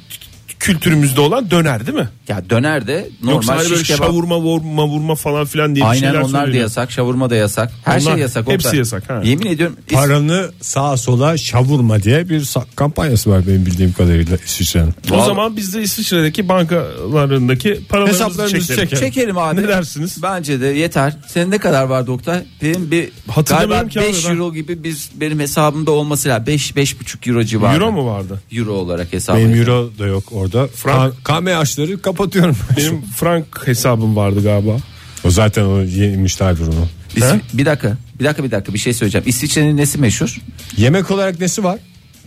Speaker 5: kültürümüzde olan döner değil mi?
Speaker 4: Ya döner de normal
Speaker 5: Yoksa hani
Speaker 4: şiş
Speaker 5: böyle
Speaker 4: kebap.
Speaker 5: şavurma, vurma, vurma falan filan diye bir
Speaker 4: Aynen
Speaker 5: şeyler
Speaker 4: onlar da
Speaker 5: söyleniyor.
Speaker 4: yasak, şavurma da yasak. Her
Speaker 5: Onlar-
Speaker 4: şey yasak.
Speaker 5: hepsi
Speaker 4: Oktay.
Speaker 5: yasak, ha.
Speaker 4: Yemin ediyorum is-
Speaker 3: Paranı sağa sola şavurma diye bir sa- kampanyası var benim bildiğim kadarıyla İsviçre'nin.
Speaker 5: O Vallahi- zaman biz de İsviçre'deki bankalarındaki paralarımızı
Speaker 3: Hesaplarımızı
Speaker 5: çekelim.
Speaker 3: çekelim.
Speaker 4: çekerim abi.
Speaker 5: Ne dersiniz?
Speaker 4: Bence de yeter. Senin ne kadar vardı Oktay? Benim bir
Speaker 5: Hatırlamıyorum
Speaker 4: galiba
Speaker 5: ki abi
Speaker 4: 5
Speaker 5: ben.
Speaker 4: euro gibi biz benim hesabımda olması lazım. 5 5,5 euro civarı.
Speaker 5: Euro mu vardı?
Speaker 4: Euro olarak hesap.
Speaker 3: Benim euro da yok orada.
Speaker 5: Frank.
Speaker 3: K- KMH'ları kapatıyorum.
Speaker 5: [laughs] Benim frank hesabım vardı galiba.
Speaker 3: o zaten o yemişlerdir onu.
Speaker 5: He?
Speaker 4: bir dakika. Bir dakika bir dakika bir şey söyleyeceğim. İsviçre'nin nesi meşhur?
Speaker 3: Yemek olarak nesi var?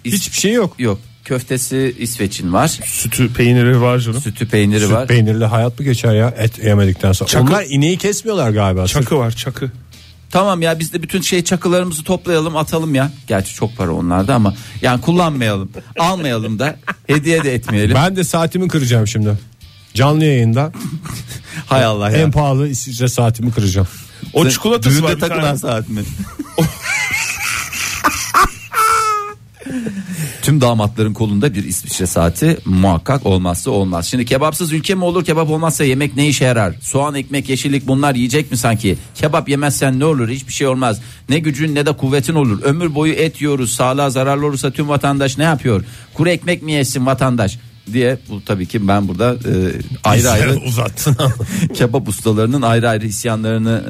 Speaker 4: İs-
Speaker 3: Hiçbir şey yok.
Speaker 4: Yok. Köftesi İsveç'in var.
Speaker 5: Sütü, peyniri var canım.
Speaker 4: Sütü peyniri
Speaker 3: Süt
Speaker 4: var.
Speaker 3: peynirli hayat mı geçer ya et yemedikten sonra?
Speaker 5: Çakı-
Speaker 3: Onlar ineği kesmiyorlar galiba. Sırf-
Speaker 5: Çakı var çakı.
Speaker 4: Tamam ya biz de bütün şey çakılarımızı toplayalım atalım ya. Gerçi çok para onlarda ama yani kullanmayalım. almayalım da hediye de etmeyelim.
Speaker 3: Ben de saatimi kıracağım şimdi. Canlı yayında
Speaker 4: Hay Allah ya.
Speaker 3: en pahalı İsviçre saatimi kıracağım.
Speaker 5: O
Speaker 4: Sen-
Speaker 5: çikolatası
Speaker 4: düğünde
Speaker 5: var bir
Speaker 4: takılan
Speaker 5: tane.
Speaker 4: saat mi? [laughs] Tüm damatların kolunda bir İsviçre saati muhakkak olmazsa olmaz. Şimdi kebapsız ülke mi olur kebap olmazsa yemek ne işe yarar? Soğan ekmek yeşillik bunlar yiyecek mi sanki? Kebap yemezsen ne olur hiçbir şey olmaz. Ne gücün ne de kuvvetin olur. Ömür boyu et yiyoruz sağlığa zararlı olursa tüm vatandaş ne yapıyor? Kuru ekmek mi yesin vatandaş? diye bu tabii ki ben burada e, ayrı ayrı
Speaker 3: uzattın.
Speaker 4: [laughs] kebap ustalarının ayrı ayrı isyanlarını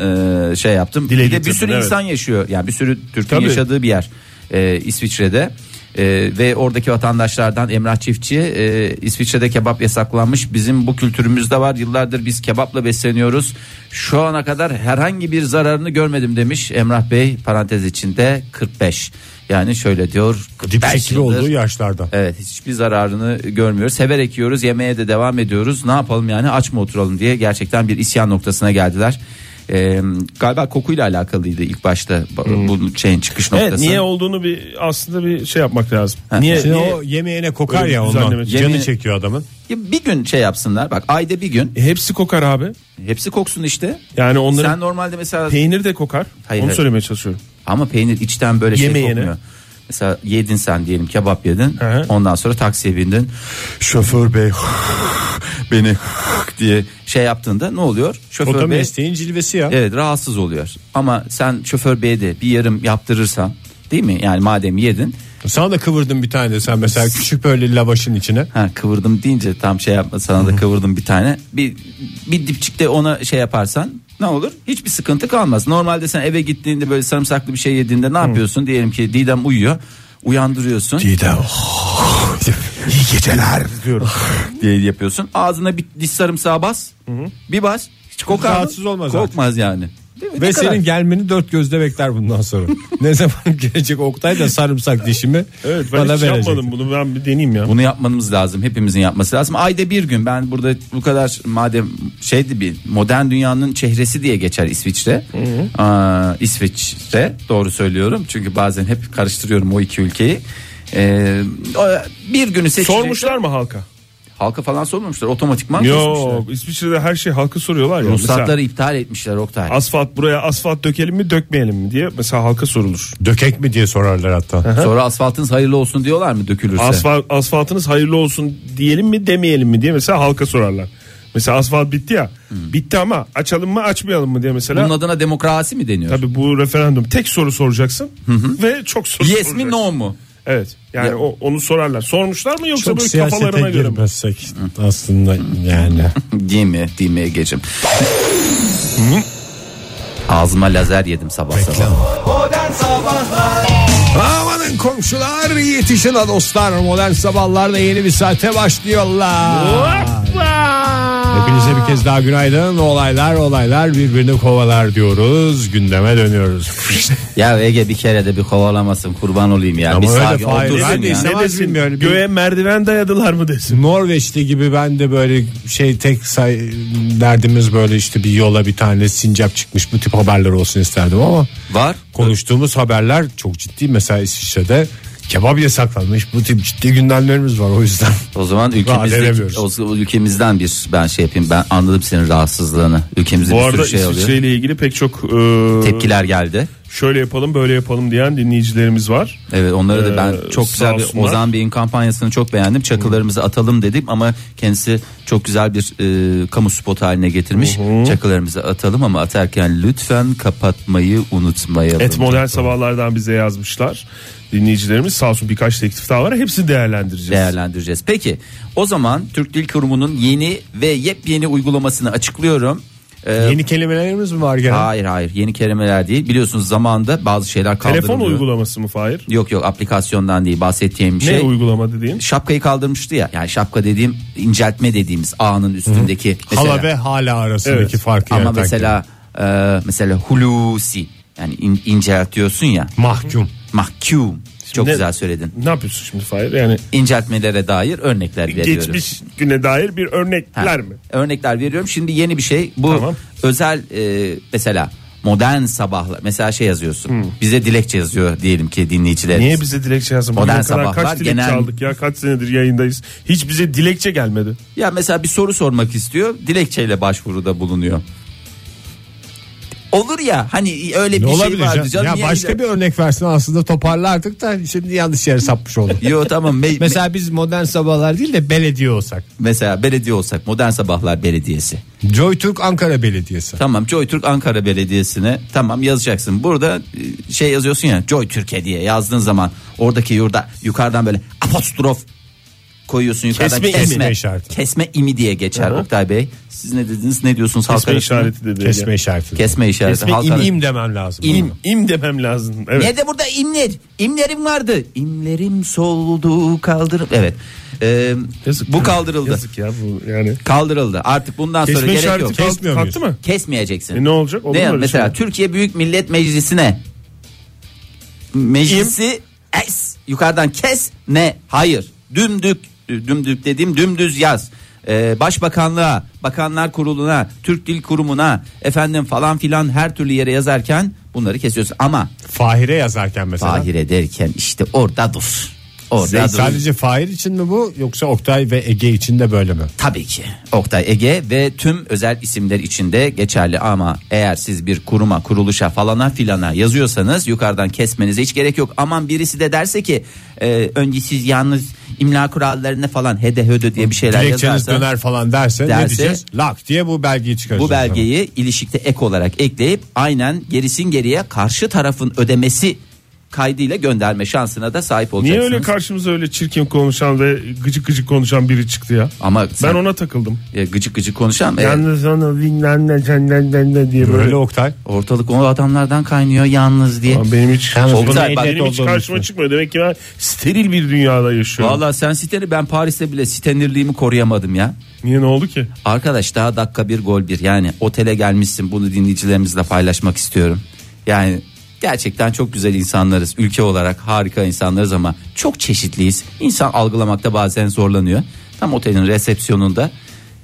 Speaker 4: e, şey yaptım.
Speaker 5: Dile
Speaker 4: bir de bir
Speaker 5: getirdin,
Speaker 4: sürü
Speaker 5: evet.
Speaker 4: insan yaşıyor. Yani bir sürü Türk'ün
Speaker 5: Tabii.
Speaker 4: yaşadığı bir yer. E, İsviçre'de. E, ve oradaki vatandaşlardan Emrah Çiftçi e, İsviçre'de kebap yasaklanmış. Bizim bu kültürümüzde var. Yıllardır biz kebapla besleniyoruz. Şu ana kadar herhangi bir zararını görmedim demiş Emrah Bey parantez içinde 45. Yani şöyle diyor 45
Speaker 3: Dipsikli
Speaker 4: yıldır
Speaker 3: olduğu yaşlarda.
Speaker 4: Evet hiçbir zararını görmüyoruz. Severek yiyoruz yemeğe de devam ediyoruz. Ne yapalım yani aç mı oturalım diye gerçekten bir isyan noktasına geldiler. Ee, galiba kokuyla alakalıydı ilk başta bu- bu şeyin çıkış noktası.
Speaker 5: Hmm. Evet niye olduğunu bir aslında bir şey yapmak lazım. Niye,
Speaker 3: Şimdi
Speaker 5: niye-
Speaker 3: o yemeğine kokar
Speaker 5: Öyle
Speaker 3: ya
Speaker 5: bir
Speaker 3: ondan.
Speaker 5: düzenleme-
Speaker 3: Canı
Speaker 4: Yemeği-
Speaker 3: çekiyor adamın.
Speaker 4: Ya bir gün şey yapsınlar bak ayda bir gün
Speaker 5: E, hepsi kokar abi.
Speaker 4: hepsi koksun işte.
Speaker 5: Yani onların
Speaker 4: Sen normalde mesela
Speaker 5: peynir de kokar.
Speaker 4: Hayır,
Speaker 5: Onu
Speaker 4: hayır.
Speaker 5: söylemeye çalışıyorum.
Speaker 4: ama peynir içten böyle
Speaker 5: Yemeğine.
Speaker 4: şey kokmuyor. Mesela yedin sen diyelim kebap yedin.
Speaker 5: Hı hı.
Speaker 4: Ondan sonra taksiye bindin.
Speaker 3: Şoför bey.
Speaker 4: Beni [laughs] diye şey yaptığında ne oluyor?
Speaker 3: O da
Speaker 4: Şoför bey E-
Speaker 3: mesleğin cilvesi ya.
Speaker 4: Evet rahatsız oluyor. Ama sen şoför beye de bir yarım yaptırırsan değil mi? Yani madem yedin.
Speaker 3: Sana da kıvırdım bir tane de sen mesela küçük böyle lavaşın içine.
Speaker 4: Ha kıvırdım deyince tam şey yapma sana da kıvırdım bir tane. Bir, bir dipçikte ona şey yaparsan ne olur? Hiçbir sıkıntı kalmaz. Normalde sen eve gittiğinde böyle sarımsaklı bir şey yediğinde ne yapıyorsun? Diyelim ki Didem uyuyor. Uyandırıyorsun
Speaker 3: Didem. İyi geceler diyorum.
Speaker 4: diye yapıyorsun. Ağzına bir diş sarımsağı bas. Bir bas. Hiç kokar mı?
Speaker 3: Rahatsız olmaz artık.
Speaker 4: Kokmaz yani. Değil mi? Ne
Speaker 3: Ve
Speaker 4: kadar-
Speaker 3: senin gelmeni dört gözle bekler bundan sonra. ne zaman gelecek Oktay da sarımsak dişimi
Speaker 5: Evet ben
Speaker 3: bana
Speaker 5: hiç
Speaker 3: verecek.
Speaker 5: yapmadım bunu ben bir deneyeyim ya.
Speaker 4: Bunu yapmamız lazım. Hepimizin yapması lazım. Ayda bir gün ben burada bu kadar madem şeydi bir modern dünyanın çehresi diye geçer İsviçre. Aa, İsviçre doğru söylüyorum. Çünkü bazen hep karıştırıyorum o iki ülkeyi. Ee, o- bir günü seçecek.
Speaker 5: Sormuşlar mı halka?
Speaker 4: Halka falan sormamışlar. Otomatikman
Speaker 5: Yok
Speaker 4: kesmişler.
Speaker 5: İsviçre'de her şey halka soruyorlar ya. Mesela
Speaker 4: Ruhsatları iptal etmişler Oktay.
Speaker 5: asfalt buraya asfalt dökelim mi dökmeyelim mi diye mesela halka sorulur.
Speaker 3: Dökek mi diye sorarlar hatta.
Speaker 4: Sonra asfaltınız hayırlı olsun diyorlar mı dökülürse?
Speaker 5: Asfalt, asfaltınız hayırlı olsun diyelim mi demeyelim mi diye mesela halka sorarlar. Mesela asfalt bitti ya. Bitti ama açalım mı açmayalım mı diye mesela.
Speaker 4: Bunun adına demokrasi mi deniyor?
Speaker 5: Tabii bu referandum tek soru soracaksın ve çok soru
Speaker 4: Yes
Speaker 5: soracaksın.
Speaker 4: mi no mu?
Speaker 5: Evet. Yani
Speaker 4: Ya-
Speaker 5: o, onu sorarlar. Sormuşlar mı yoksa
Speaker 3: Çok
Speaker 5: böyle kafalarına
Speaker 3: siyasete
Speaker 5: göre mi?
Speaker 3: girmezsek aslında yani.
Speaker 4: Değil mi? Değil mi Ege'cim? Ağzıma lazer yedim sabah sabah.
Speaker 2: Modern Sabahlar
Speaker 3: Amanın komşular yetişin ha dostlar modern sabahlarda yeni bir saate başlıyorlar. Hepinize bir kez daha günaydın. Olaylar olaylar birbirini kovalar diyoruz. Gündeme dönüyoruz.
Speaker 4: Ya Ege bir kere de bir kovalamasın kurban olayım ya.
Speaker 3: Ama
Speaker 4: bir
Speaker 3: öyle
Speaker 4: sakin ol,
Speaker 3: Fahir,
Speaker 4: dursun
Speaker 3: ben de
Speaker 4: ya.
Speaker 3: istemem.
Speaker 5: Ne
Speaker 3: Var
Speaker 5: desin?
Speaker 3: bilmiyorum. Bir-
Speaker 5: Göğe merdiven dayadılar mı desin?
Speaker 3: Norveç'te gibi ben de böyle şey tek say derdimiz böyle işte bir yola bir tane sincap çıkmış bu tip haberler olsun isterdim ama
Speaker 4: Var.
Speaker 3: konuştuğumuz haberler çok ciddi mesela İsviçre'de kebap yasaklanmış bu tip ciddi gündemlerimiz var o yüzden.
Speaker 4: O zaman
Speaker 3: edemiyoruz.
Speaker 4: ülkemizdeki, o zaman ülkemizden bir ben şey yapayım. Ben anladım senin rahatsızlığını. Ülkemizde
Speaker 5: Bu
Speaker 4: bir
Speaker 5: arada
Speaker 4: sürü şey oluyor.
Speaker 5: İsviçre ile ilgili pek çok e,
Speaker 4: Tepkiler geldi.
Speaker 5: şöyle yapalım böyle yapalım diyen dinleyicilerimiz var.
Speaker 4: Evet onları da ben
Speaker 5: Ee,
Speaker 4: çok
Speaker 5: sağ
Speaker 4: güzel bir
Speaker 5: olsunlar.
Speaker 4: Ozan Bey'in kampanyasını çok beğendim. Çakılarımızı atalım dedim ama kendisi çok güzel bir e, kamu spotu haline getirmiş. Çakılarımızı atalım ama atarken lütfen kapatmayı unutmayalım.
Speaker 5: Et modern sabahlardan bize yazmışlar. Dinleyicilerimiz sağ olsun birkaç teklif daha var. Hepsini değerlendireceğiz.
Speaker 4: değerlendireceğiz. Peki o zaman Türk Dil Kurumu'nun yeni ve yepyeni uygulamasını açıklıyorum. [laughs] Ee,
Speaker 3: Yeni kelimelerimiz mi var gene?
Speaker 4: Hayır hayır yeni kelimeler değil. Biliyorsunuz zamanda bazı şeyler kaldırılıyor.
Speaker 5: Telefon uygulaması mı Fahir?
Speaker 4: Yok yok aplikasyondan değil bahsettiğim
Speaker 5: Ne
Speaker 4: şey.
Speaker 5: uygulama dediğin?
Speaker 4: şapkayı kaldırmıştı ya. Yani şapka dediğim inceltme dediğimiz ağının üstündeki. mesela.
Speaker 3: Hala ve hala arasındaki
Speaker 5: Evet.
Speaker 3: farkı
Speaker 4: Ama
Speaker 3: yaratan
Speaker 4: mesela e, mesela hulusi yani in- inceltiyorsun ya.
Speaker 3: kelime. mahkum.
Speaker 4: Mahkum. Çok
Speaker 5: Ne-
Speaker 4: güzel söyledin.
Speaker 5: Ne yapıyorsun şimdi Fahir? Yani
Speaker 4: İnceltmelere dair örnekler veriyorum.
Speaker 5: geçmiş güne dair bir
Speaker 4: Ha,
Speaker 5: örnekler mi?
Speaker 4: Örnekler veriyorum. Şimdi yeni bir şey. Bu
Speaker 5: Tamam.
Speaker 4: özel e, mesela modern sabahlar mesela şey yazıyorsun. Bize dilekçe yazıyor diyelim ki dinleyicilerimiz.
Speaker 5: Niye bize dilekçe yazın?
Speaker 4: Modern
Speaker 5: Bugüne kadar
Speaker 4: Sabahlar
Speaker 5: kaç dilekçe
Speaker 4: genel-
Speaker 5: aldık ya? Kaç senedir yayındayız? Hiç bize dilekçe gelmedi.
Speaker 4: Ya mesela bir soru sormak istiyor. Dilekçeyle başvuruda bulunuyor. Olur ya hani öyle
Speaker 3: Ne
Speaker 4: bir şey
Speaker 3: olabilir
Speaker 4: vardı
Speaker 3: canım?
Speaker 4: canım.
Speaker 3: Ya
Speaker 4: niye
Speaker 3: başka
Speaker 4: bize-
Speaker 3: bir örnek versin aslında toparlardık da şimdi yanlış yere sapmış olduk.
Speaker 4: Yo tamam. Me-
Speaker 3: [laughs]
Speaker 4: mesela
Speaker 3: mesela biz modern sabahlar değil de belediye olsak.
Speaker 4: mesela belediye olsak Modern Sabahlar Belediyesi.
Speaker 3: Joy Türk Ankara Belediyesi.
Speaker 4: Tamam JoyTürk Ankara Belediyesi'ne tamam yazacaksın. Burada e, şey yazıyorsun ya JoyTürk'e diye yazdığın zaman oradaki yurda yukarıdan böyle apostrof koyuyorsun yukarıdan
Speaker 3: Kesme
Speaker 4: kesme
Speaker 3: imi
Speaker 4: kesme,
Speaker 3: de işareti.
Speaker 4: imi diye geçer Oktay Bey. Siz ne dediniz? Ne diyorsunuz halk
Speaker 5: Kesme
Speaker 4: arasında?
Speaker 5: işareti dedi.
Speaker 3: Kesme
Speaker 5: Ege.
Speaker 3: işareti.
Speaker 4: Kesme işareti.
Speaker 3: Kesme
Speaker 4: halk
Speaker 3: im,
Speaker 4: arasında.
Speaker 3: im demem lazım.
Speaker 5: İm, im demem lazım. Evet.
Speaker 4: Nerede burada imler? İmlerim vardı. İmlerim soldu kaldır. Evet. Ee, bu kaldırıldı.
Speaker 5: Yazık ya bu yani.
Speaker 4: Kaldırıldı. Artık bundan sonra
Speaker 5: Kesme
Speaker 4: gerek
Speaker 5: işareti
Speaker 4: yok.
Speaker 5: kalk-
Speaker 3: Kesmiyor muyuz?
Speaker 5: kalktı mı?
Speaker 4: Kesmeyeceksin.
Speaker 5: E ne olacak? Olur
Speaker 4: Ne
Speaker 5: mu
Speaker 4: yani?
Speaker 5: öyle
Speaker 4: mesela
Speaker 5: şey?
Speaker 4: Türkiye Büyük Millet Meclisi'ne meclisi es yukarıdan kes ne? Hayır. Dümdük dümdük dediğim dümdüz yaz. Ee, Başbakanlığa, Bakanlar Kurulu'na, Türk Dil Kurumu'na efendim falan filan her türlü yere yazarken bunları kesiyorsun. Ama
Speaker 3: Fahire yazarken mesela.
Speaker 4: Fahire derken işte orada dur.
Speaker 3: Sen-
Speaker 4: Orada dur.
Speaker 3: sadece Fahir için mi bu yoksa Oktay ve Ege için de böyle mi?
Speaker 4: Tabii ki. Oktay Ege ve tüm özel isimler içinde geçerli ama eğer siz bir kuruma, kuruluşa falana filana yazıyorsanız yukarıdan kesmenize hiç gerek yok. Aman birisi de derse ki e, önce siz yalnız imla kurallarına falan hede hödö diye bir şeyler
Speaker 3: Dilekçeniz
Speaker 4: yazarsa
Speaker 3: döner falan derse, ne
Speaker 4: derse-
Speaker 3: diyeceğiz? Lak diye bu belgeyi çıkaracağız.
Speaker 4: bu belgeyi ilişikte ek olarak ekleyip aynen gerisin geriye karşı tarafın ödemesi kaydıyla gönderme şansına da sahip
Speaker 5: Niye
Speaker 4: olacaksınız.
Speaker 5: öyle karşımıza öyle çirkin konuşan ve gıcık gıcık konuşan biri çıktı ya?
Speaker 4: ama
Speaker 5: Ben
Speaker 4: sen
Speaker 5: ona takıldım.
Speaker 4: e, gıcık gıcık konuşan e,
Speaker 5: Yalnız onu bilmem ne senden de ne diye
Speaker 3: Böyle
Speaker 5: böyle.
Speaker 3: Oktay.
Speaker 4: ortalık o adamlardan kaynıyor yalnız diye.
Speaker 5: Ama benim hiç
Speaker 3: Yalnız
Speaker 5: Oğlum,
Speaker 4: Oktay,
Speaker 5: benim
Speaker 4: bak-
Speaker 5: hiç karşıma çıkmıyor. Demek ki ben steril bir dünyada yaşıyorum.
Speaker 4: Valla sen siteni ben Paris'te bile sitenirliğimi koruyamadım ya.
Speaker 5: Niye ne oldu ki?
Speaker 4: Arkadaş daha dakika bir gol bir yani otele gelmişsin bunu dinleyicilerimizle paylaşmak istiyorum. Yani gerçekten çok güzel insanlarız ülke olarak harika insanlarız ama çok çeşitliyiz. İnsan algılamakta bazen zorlanıyor. Tam otelin resepsiyonunda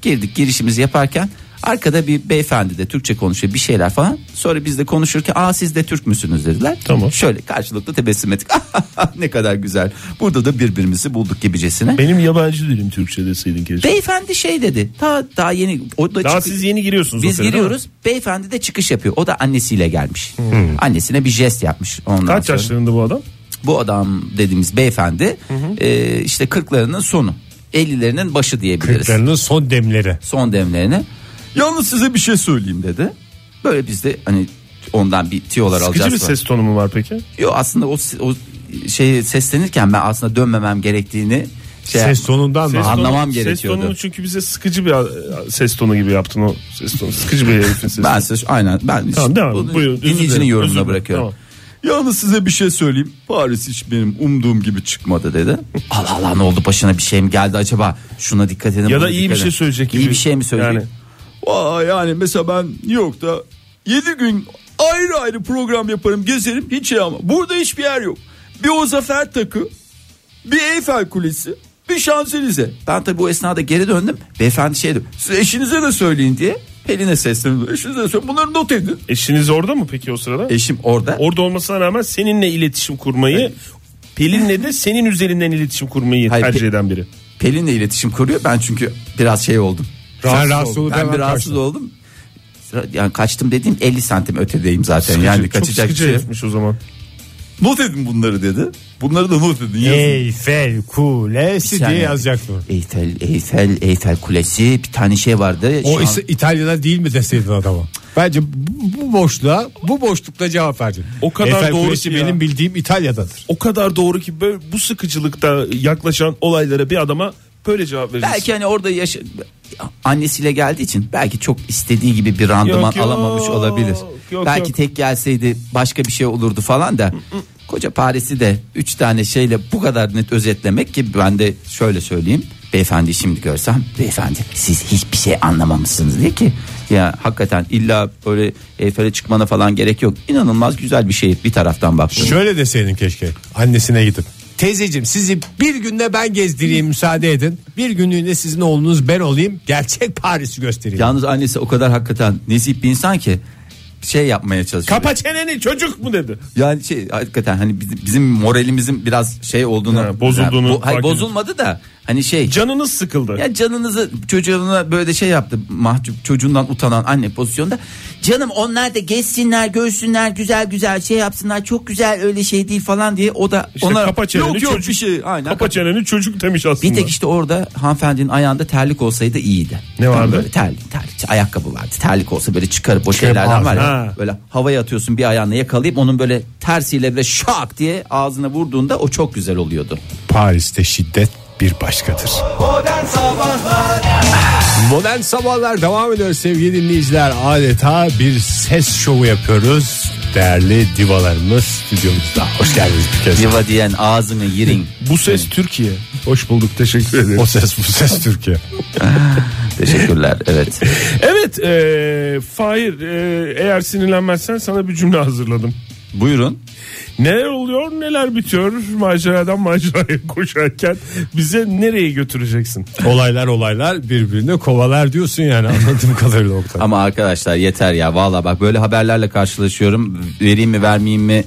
Speaker 4: girdik girişimizi yaparken arkada bir beyefendi de Türkçe konuşuyor bir şeyler falan. Sonra biz de konuşurken aa siz de Türk müsünüz dediler.
Speaker 5: Tamam.
Speaker 4: Şöyle karşılıklı tebessüm ettik. [laughs] ne kadar güzel. Burada da birbirimizi bulduk gibicesine.
Speaker 5: Benim yabancı dilim Türkçe deseydin keşke.
Speaker 4: Beyefendi şey dedi. Daha daha yeni o da
Speaker 5: Daha
Speaker 4: çıkı-
Speaker 5: siz yeni giriyorsunuz.
Speaker 4: biz
Speaker 5: otele, değil mi?
Speaker 4: giriyoruz. Beyefendi de çıkış yapıyor. O da annesiyle gelmiş. Annesine bir jest yapmış. Ondan
Speaker 5: Hmm. Kaç
Speaker 4: sonra.
Speaker 5: yaşlarında bu adam?
Speaker 4: Bu adam dediğimiz beyefendi e, işte kırklarının sonu. 50'lerinin başı diyebiliriz.
Speaker 3: Kırklarının son demleri.
Speaker 4: Son demlerini. Yalnız size bir şey söyleyeyim dedi. Böyle biz de hani ondan bir tiyolar
Speaker 5: Sıkıcı
Speaker 4: alacağız.
Speaker 5: bir
Speaker 4: falan.
Speaker 5: ses tonu mu var peki?
Speaker 4: Yo, aslında o, o şey seslenirken ben aslında dönmemem gerektiğini şey
Speaker 3: Ses tonundan mı?
Speaker 5: Ses
Speaker 3: Ha,
Speaker 5: tonu-
Speaker 4: anlamam
Speaker 5: Ses
Speaker 4: gerekiyordu.
Speaker 5: tonunu çünkü bize sıkıcı bir e, ses tonu gibi yaptın o ses tonu. Sıkıcı bir herifin sesi.
Speaker 4: Ben size aynen ben
Speaker 5: Tamam, devam.
Speaker 4: bunu
Speaker 5: Buyurun, özür
Speaker 4: dinleyicinin
Speaker 5: dilerim, özür
Speaker 4: yorumuna
Speaker 5: dilerim.
Speaker 4: bırakıyorum.
Speaker 5: Tamam.
Speaker 4: Yalnız size bir şey söyleyeyim. Paris hiç benim umduğum gibi çıkmadı dedi. [laughs] Allah Allah ne oldu başına bir şey mi geldi acaba? Şuna dikkat edin.
Speaker 5: Ya da
Speaker 4: buna
Speaker 5: iyi
Speaker 4: dikkat
Speaker 5: bir
Speaker 4: edin.
Speaker 5: şey söyleyecek
Speaker 4: İyi
Speaker 5: gibi.
Speaker 4: bir şey mi söyleyecek?
Speaker 5: Yani.
Speaker 4: Vay yani mesela ben New York'ta 7 gün ayrı ayrı program yaparım gezerim hiç şey ama burada hiçbir yer yok. Bir o zafer takı bir Eyfel Kulesi bir Şanzelize. Ben tabii bu esnada geri döndüm. Beyefendi şey dedi. Siz eşinize de söyleyin diye. Pelin'e seslendim. Eşinize de söyleyin. Bunları not edin.
Speaker 5: Eşiniz orada mı peki o sırada?
Speaker 4: Eşim orada.
Speaker 5: orada olmasına rağmen seninle iletişim kurmayı Pelin'le de senin üzerinden iletişim kurmayı
Speaker 4: Hayır,
Speaker 5: tercih
Speaker 4: Pe-
Speaker 5: eden biri.
Speaker 4: Pelin'le iletişim kuruyor. Ben çünkü biraz şey oldum.
Speaker 3: Sen rahatsız olup
Speaker 4: Ben
Speaker 3: hemen
Speaker 4: bir rahatsız
Speaker 3: kaçtın.
Speaker 4: oldum. Yani kaçtım dediğim 50 santim ötedeyim zaten. yani
Speaker 5: Çok
Speaker 4: kaçacak bir
Speaker 5: sıkıcı
Speaker 4: şey. yok.
Speaker 5: herifmiş o zaman.
Speaker 4: Not edin bunları dedi. Bunları da not edin. yazın.
Speaker 3: Eyfel Kulesi
Speaker 4: Bir
Speaker 3: diye
Speaker 4: saniye.
Speaker 3: yazacaktım.
Speaker 4: Eyfel, Eyfel, Eyfel Kulesi bir tane şey vardı. Şu
Speaker 3: O
Speaker 4: an-
Speaker 3: ise İtalya'dan değil mi deseydin adama? Bence bu bu boşluğa bu boşlukta cevap verdin.
Speaker 5: O kadar
Speaker 3: Eyfel
Speaker 5: doğru
Speaker 3: Kulesi
Speaker 5: ki ya.
Speaker 3: benim bildiğim İtalya'dadır.
Speaker 5: O kadar doğru ki böyle bu sıkıcılıkta yaklaşan olaylara bir adama böyle cevap verirsin.
Speaker 4: Belki hani orada yaşa... annesiyle geldiği için belki çok istediği gibi bir randıman
Speaker 5: Yok, yok,
Speaker 4: alamamış olabilir.
Speaker 5: yok, Mm,
Speaker 4: belki
Speaker 5: yok.
Speaker 4: tek gelseydi başka bir şey olurdu falan da. Koca Paris'i de 3 tane şeyle bu kadar net özetlemek ki ben de şöyle söyleyeyim. Beyefendi şimdi görsem beyefendi siz hiçbir şey anlamamışsınız diye ki ya hakikaten illa böyle Eyfel'e çıkmana falan gerek yok. İnanılmaz güzel bir şey bir taraftan baktığında.
Speaker 3: Şöyle deseydin keşke annesine gidip. Teyzeciğim sizi bir günde ben gezdireyim müsaade edin. Bir günlüğüne sizin oğlunuz ben olayım. Gerçek Paris'i göstereyim.
Speaker 4: Yalnız annesi o kadar hakikaten nezih bir insan ki şey yapmaya çalışıyor.
Speaker 5: Kapa çeneni çocuk mu dedi.
Speaker 4: Yani şey hakikaten hani bizim, bizim moralimizin biraz şey olduğunu
Speaker 5: Ha, bozulduğunu
Speaker 4: Yani bu- hayır,
Speaker 5: fark
Speaker 4: bozulmadı da hani şey
Speaker 5: Canınız sıkıldı.
Speaker 4: ya canınızı çocuğuna böyle şey yaptı mahcup çocuğundan utanan anne pozisyonda canım onlar da gezsinler görsünler güzel güzel şey yapsınlar çok güzel öyle şey değil falan diye o da
Speaker 5: İşte
Speaker 4: ona
Speaker 5: kapa çeneni
Speaker 4: yok yok
Speaker 5: çocuk.
Speaker 4: bir şey aynen
Speaker 5: Kapa çeneni çocuk demiş aslında.
Speaker 4: bir tek işte orada hanımefendinin ayağında terlik olsaydı iyiydi.
Speaker 5: Ne vardı?
Speaker 4: Böyle terlik, terlik, ayakkabı vardı. Terlik olsa böyle çıkarıp o
Speaker 3: ağzına.
Speaker 4: şeylerden var ya.
Speaker 5: Ha.
Speaker 4: Böyle havaya atıyorsun bir ayağını yakalayıp onun böyle tersiyle böyle şak diye ağzına vurduğunda o çok güzel oluyordu.
Speaker 3: Paris'te şiddet bir başkadır.
Speaker 2: Modern Sabahlar
Speaker 3: Modern sabahlar devam ediyor sevgili dinleyiciler. Adeta bir ses şovu yapıyoruz. Değerli divalarımız stüdyomuzda. Hoş geldiniz bir kez.
Speaker 4: Diva diyen ağzını
Speaker 5: [laughs]
Speaker 4: yirin.
Speaker 5: Bu ses Türkiye. Hoş bulduk teşekkür ederim.
Speaker 3: O ses bu ses Türkiye.
Speaker 4: Teşekkürler evet.
Speaker 5: Evet e, Fahir e, eğer sinirlenmezsen sana bir cümle hazırladım.
Speaker 4: Buyurun.
Speaker 5: Neler oluyor neler bitiyor maceradan maceraya [laughs] koşarken bize nereye götüreceksin?
Speaker 3: Olaylar olaylar birbirine kovalar diyorsun yani anladığım kadarıyla Oktay.
Speaker 4: Ama arkadaşlar yeter ya valla bak böyle haberlerle karşılaşıyorum. Vereyim mi vermeyeyim mi?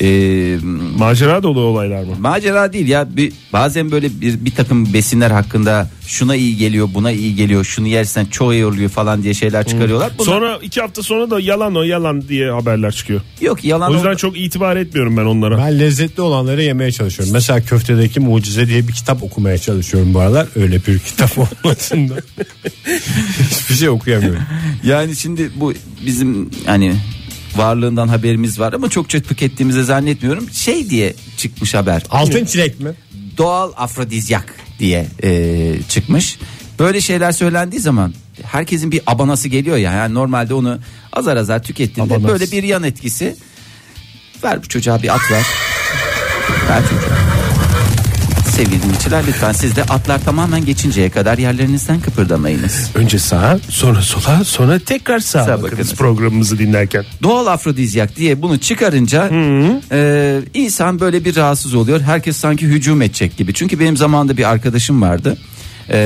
Speaker 4: Ee,
Speaker 5: Macera dolu olaylar mı?
Speaker 4: Macera değil ya bir, bazen böyle bir, bir takım besinler hakkında şuna iyi geliyor buna iyi geliyor şunu yersen çok iyi oluyor falan diye şeyler çıkarıyorlar. Bunlar-
Speaker 5: Sonra iki hafta sonra da yalan o yalan diye haberler çıkıyor.
Speaker 4: yok yalan
Speaker 5: O yüzden
Speaker 4: oldu.
Speaker 5: çok itibar etmiyorum ben onlara.
Speaker 3: Ben lezzetli olanları yemeye çalışıyorum. Mesela köftedeki mucize diye bir kitap okumaya çalışıyorum bu aralar. Öyle bir kitap [laughs] olmadığında. Hiçbir şey okuyamıyorum.
Speaker 4: yani şimdi bu bizim hani varlığından haberimiz var ama çokça tükettiğimizi zannetmiyorum. Şey diye çıkmış haber.
Speaker 3: Altın çilek mi?
Speaker 4: Doğal afrodizyak diye e, çıkmış. Böyle şeyler söylendiği zaman herkesin bir abanası geliyor ya. Yani normalde onu azar azar tükettiğinde
Speaker 3: Abanası.
Speaker 4: böyle bir yan etkisi. Ver bu çocuğa bir at ver. Ver çocuğa. Sevgili dinleyiciler lütfen siz de atlar tamamen geçinceye kadar yerlerinizden kıpırdamayınız.
Speaker 5: Önce sağa sonra sola sonra tekrar sağa,
Speaker 4: Sağa
Speaker 5: bakınız
Speaker 4: bakınız.
Speaker 5: programımızı dinlerken.
Speaker 4: Doğal afrodizyak diye bunu çıkarınca e, insan böyle bir rahatsız oluyor. Herkes sanki hücum edecek gibi. Çünkü benim zamanında bir arkadaşım vardı. E,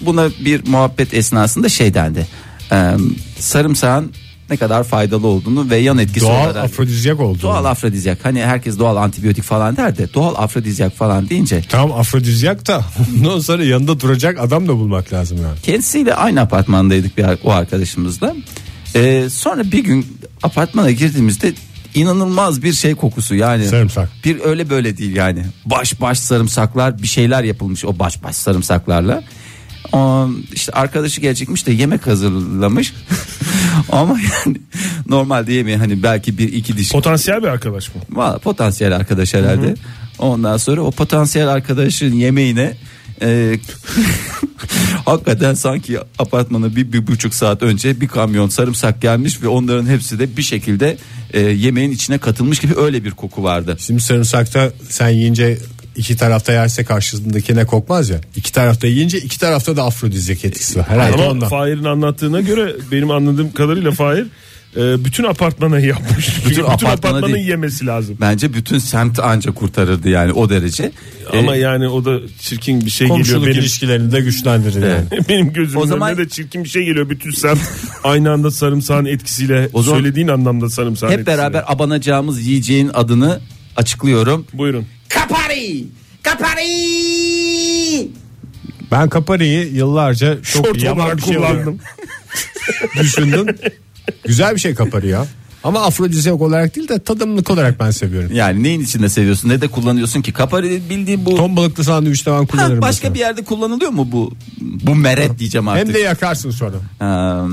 Speaker 4: buna bir muhabbet esnasında şey dendi. E, sarımsağın ne kadar faydalı olduğunu ve yan etkisi
Speaker 3: Doğal
Speaker 4: olarak.
Speaker 3: afrodizyak oldu.
Speaker 4: Doğal afrodizyak hani herkes doğal antibiyotik falan der de doğal afrodizyak falan deyince
Speaker 3: Tam afrodizyak da ondan sonra yanında duracak adam da bulmak lazım yani.
Speaker 4: Kendisiyle aynı apartmandaydık bir ar- o arkadaşımızla. Ee, sonra bir gün apartmana girdiğimizde inanılmaz bir şey kokusu yani.
Speaker 6: Sarımsak.
Speaker 4: Bir öyle böyle değil yani. Baş baş sarımsaklar bir şeyler yapılmış o baş baş sarımsaklarla. Aa, işte arkadaşı gelecekmiş de yemek hazırlamış. Ama yani normalde yemeği hani belki bir iki diş
Speaker 5: Potansiyel bir arkadaş mı?
Speaker 4: Valla potansiyel arkadaş herhalde. Ondan sonra o potansiyel arkadaşın yemeğine e, [laughs] hakikaten sanki apartmana bir, bir buçuk saat önce bir kamyon sarımsak gelmiş ve onların hepsi de bir şekilde e, yemeğin içine katılmış gibi öyle bir koku vardı.
Speaker 6: Şimdi sarımsakta sen yiyince iki tarafta yerse karşısındakine kokmaz ya. İki tarafta yiyince iki tarafta da afrodizyak etkisi var. Herhalde
Speaker 5: Ama
Speaker 6: ondan.
Speaker 5: Fahir'in anlattığına göre benim anladığım kadarıyla Fahir e, bütün apartmana [laughs] yapmış. Çünkü Bütün,
Speaker 4: apartmana
Speaker 5: apartmanın
Speaker 4: değil.
Speaker 5: yemesi lazım.
Speaker 4: Bence bütün semt anca kurtarırdı yani o derece.
Speaker 5: Ama
Speaker 4: E,
Speaker 5: yani o da çirkin bir şey geliyor
Speaker 6: Komşuluk
Speaker 5: benim.
Speaker 6: ilişkilerini de güçlendirir yani.
Speaker 5: [laughs] Benim gözümün
Speaker 4: O zaman-
Speaker 5: önüne de çirkin bir şey geliyor. Bütün sen [laughs] aynı anda sarımsağın etkisiyle
Speaker 4: O zaman-
Speaker 5: söylediğin anlamda sarımsağın
Speaker 4: hep
Speaker 5: etkisiyle.
Speaker 4: beraber abanacağımız yiyeceğin adını açıklıyorum.
Speaker 5: Buyurun.
Speaker 4: Kapari! Kapari!
Speaker 6: Ben kapariyi yıllarca çok
Speaker 5: Şort
Speaker 6: yapan
Speaker 5: olarak
Speaker 6: bir şey olarak
Speaker 4: [laughs]
Speaker 5: kullandım.
Speaker 6: düşündüm. Güzel bir şey kapari ya. Ama afrodizyak olarak değil de tadımlık olarak ben seviyorum.
Speaker 4: Yani neyin içinde seviyorsun ne de kullanıyorsun ki kapari bildiğin bu
Speaker 6: Ton balıklı sandviçte ben
Speaker 4: Ha,
Speaker 6: kullanırım.
Speaker 4: başka
Speaker 6: mesela.
Speaker 4: bir yerde kullanılıyor mu bu bu meret diyeceğim artık.
Speaker 6: Hem de yakarsın sonra.
Speaker 4: Ha,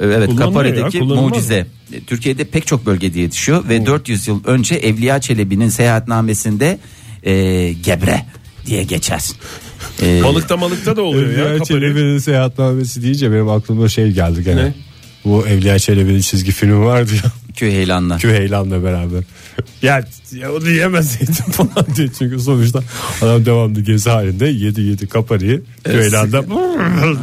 Speaker 4: evet
Speaker 5: Kullanılıyor
Speaker 4: Kapari'deki
Speaker 5: ya, kullanılmaz
Speaker 4: mucize. E, Türkiye'de pek çok bölgede yetişiyor ve 400 yıl önce Evliya Çelebi'nin seyahatnamesinde e, gebre diye geçer. E,
Speaker 5: Balıkta malıkta da oluyor ya.
Speaker 6: Evliya
Speaker 5: kapari.
Speaker 6: Çelebi'nin seyahatnamesi deyince benim aklıma şey geldi gene.
Speaker 5: Ne?
Speaker 6: Bu Evliya Çelebi'nin çizgi filmi vardı ya.
Speaker 4: köy heyelanla.
Speaker 6: Küheylan'la beraber. ya, ya onu yemezseydim [laughs] falan diye. Çünkü sonuçta adam devamlı gezi halinde yedi yedi kapariyi. Küheylan'da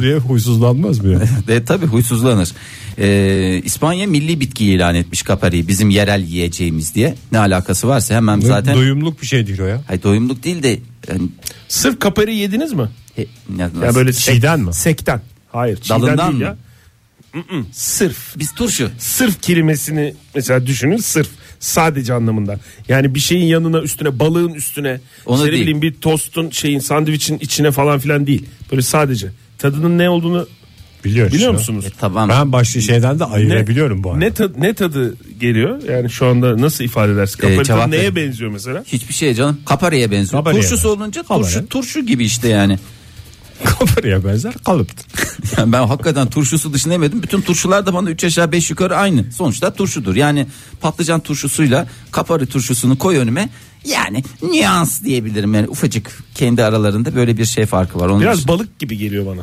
Speaker 6: [laughs] diye huysuzlanmaz mı ya?
Speaker 4: Ve tabii huysuzlanır. E, İspanya milli bitki ilan etmiş Kapari'yi bizim yerel yiyeceğimiz diye. Ne alakası varsa hemen zaten.
Speaker 6: Doyumluk bir şeydir o ya.
Speaker 4: Hayır, doyumluk değil de yani,
Speaker 5: Sırf kapari yediniz mi?
Speaker 4: he-
Speaker 5: Ya böyle
Speaker 6: Çiğden mi?
Speaker 5: Sekten. Hayır. Çiğden
Speaker 4: Dalından
Speaker 5: değil
Speaker 4: mı?
Speaker 5: ya. Mm-mm, Sırf.
Speaker 4: biz turşu.
Speaker 5: Sırf kelimesini mesela düşünün sırf sadece anlamında. Yani bir şeyin yanına üstüne balığın üstüne
Speaker 4: Ona
Speaker 5: işte ne
Speaker 4: değil.
Speaker 5: bileyim bir tostun şeyin sandviçin içine falan filan değil. Böyle sadece tadının ne olduğunu
Speaker 6: Biliyoruz.
Speaker 5: biliyor
Speaker 6: ya.
Speaker 5: musunuz?
Speaker 4: E, tamam.
Speaker 6: Ben başka şeyden de ayırabiliyorum bu arada.
Speaker 5: Ne, tad- ne tadı geliyor? Yani şu anda nasıl ifade edersin? Kapari tadı
Speaker 4: E, cevap
Speaker 5: neye
Speaker 4: verin.
Speaker 5: benziyor mesela?
Speaker 4: Hiçbir şeye canım. Kapara'ya benziyor.
Speaker 6: Kapara'ya
Speaker 4: Turşusu
Speaker 6: benziyor.
Speaker 4: olunca
Speaker 6: Kapara.
Speaker 4: turşu turşu gibi işte yani. [laughs]
Speaker 6: Kapariye benzer kalıptır.
Speaker 4: Yani ben hakikaten turşusu dışında yemedim. Bütün turşular da bana 3 aşağı 5 yukarı aynı. Sonuçta turşudur. Yani patlıcan turşusuyla kapari turşusunu koy önüme. Yani nüans diyebilirim. Yani ufacık kendi aralarında böyle bir şey farkı var. Onun
Speaker 5: Biraz balık gibi geliyor bana.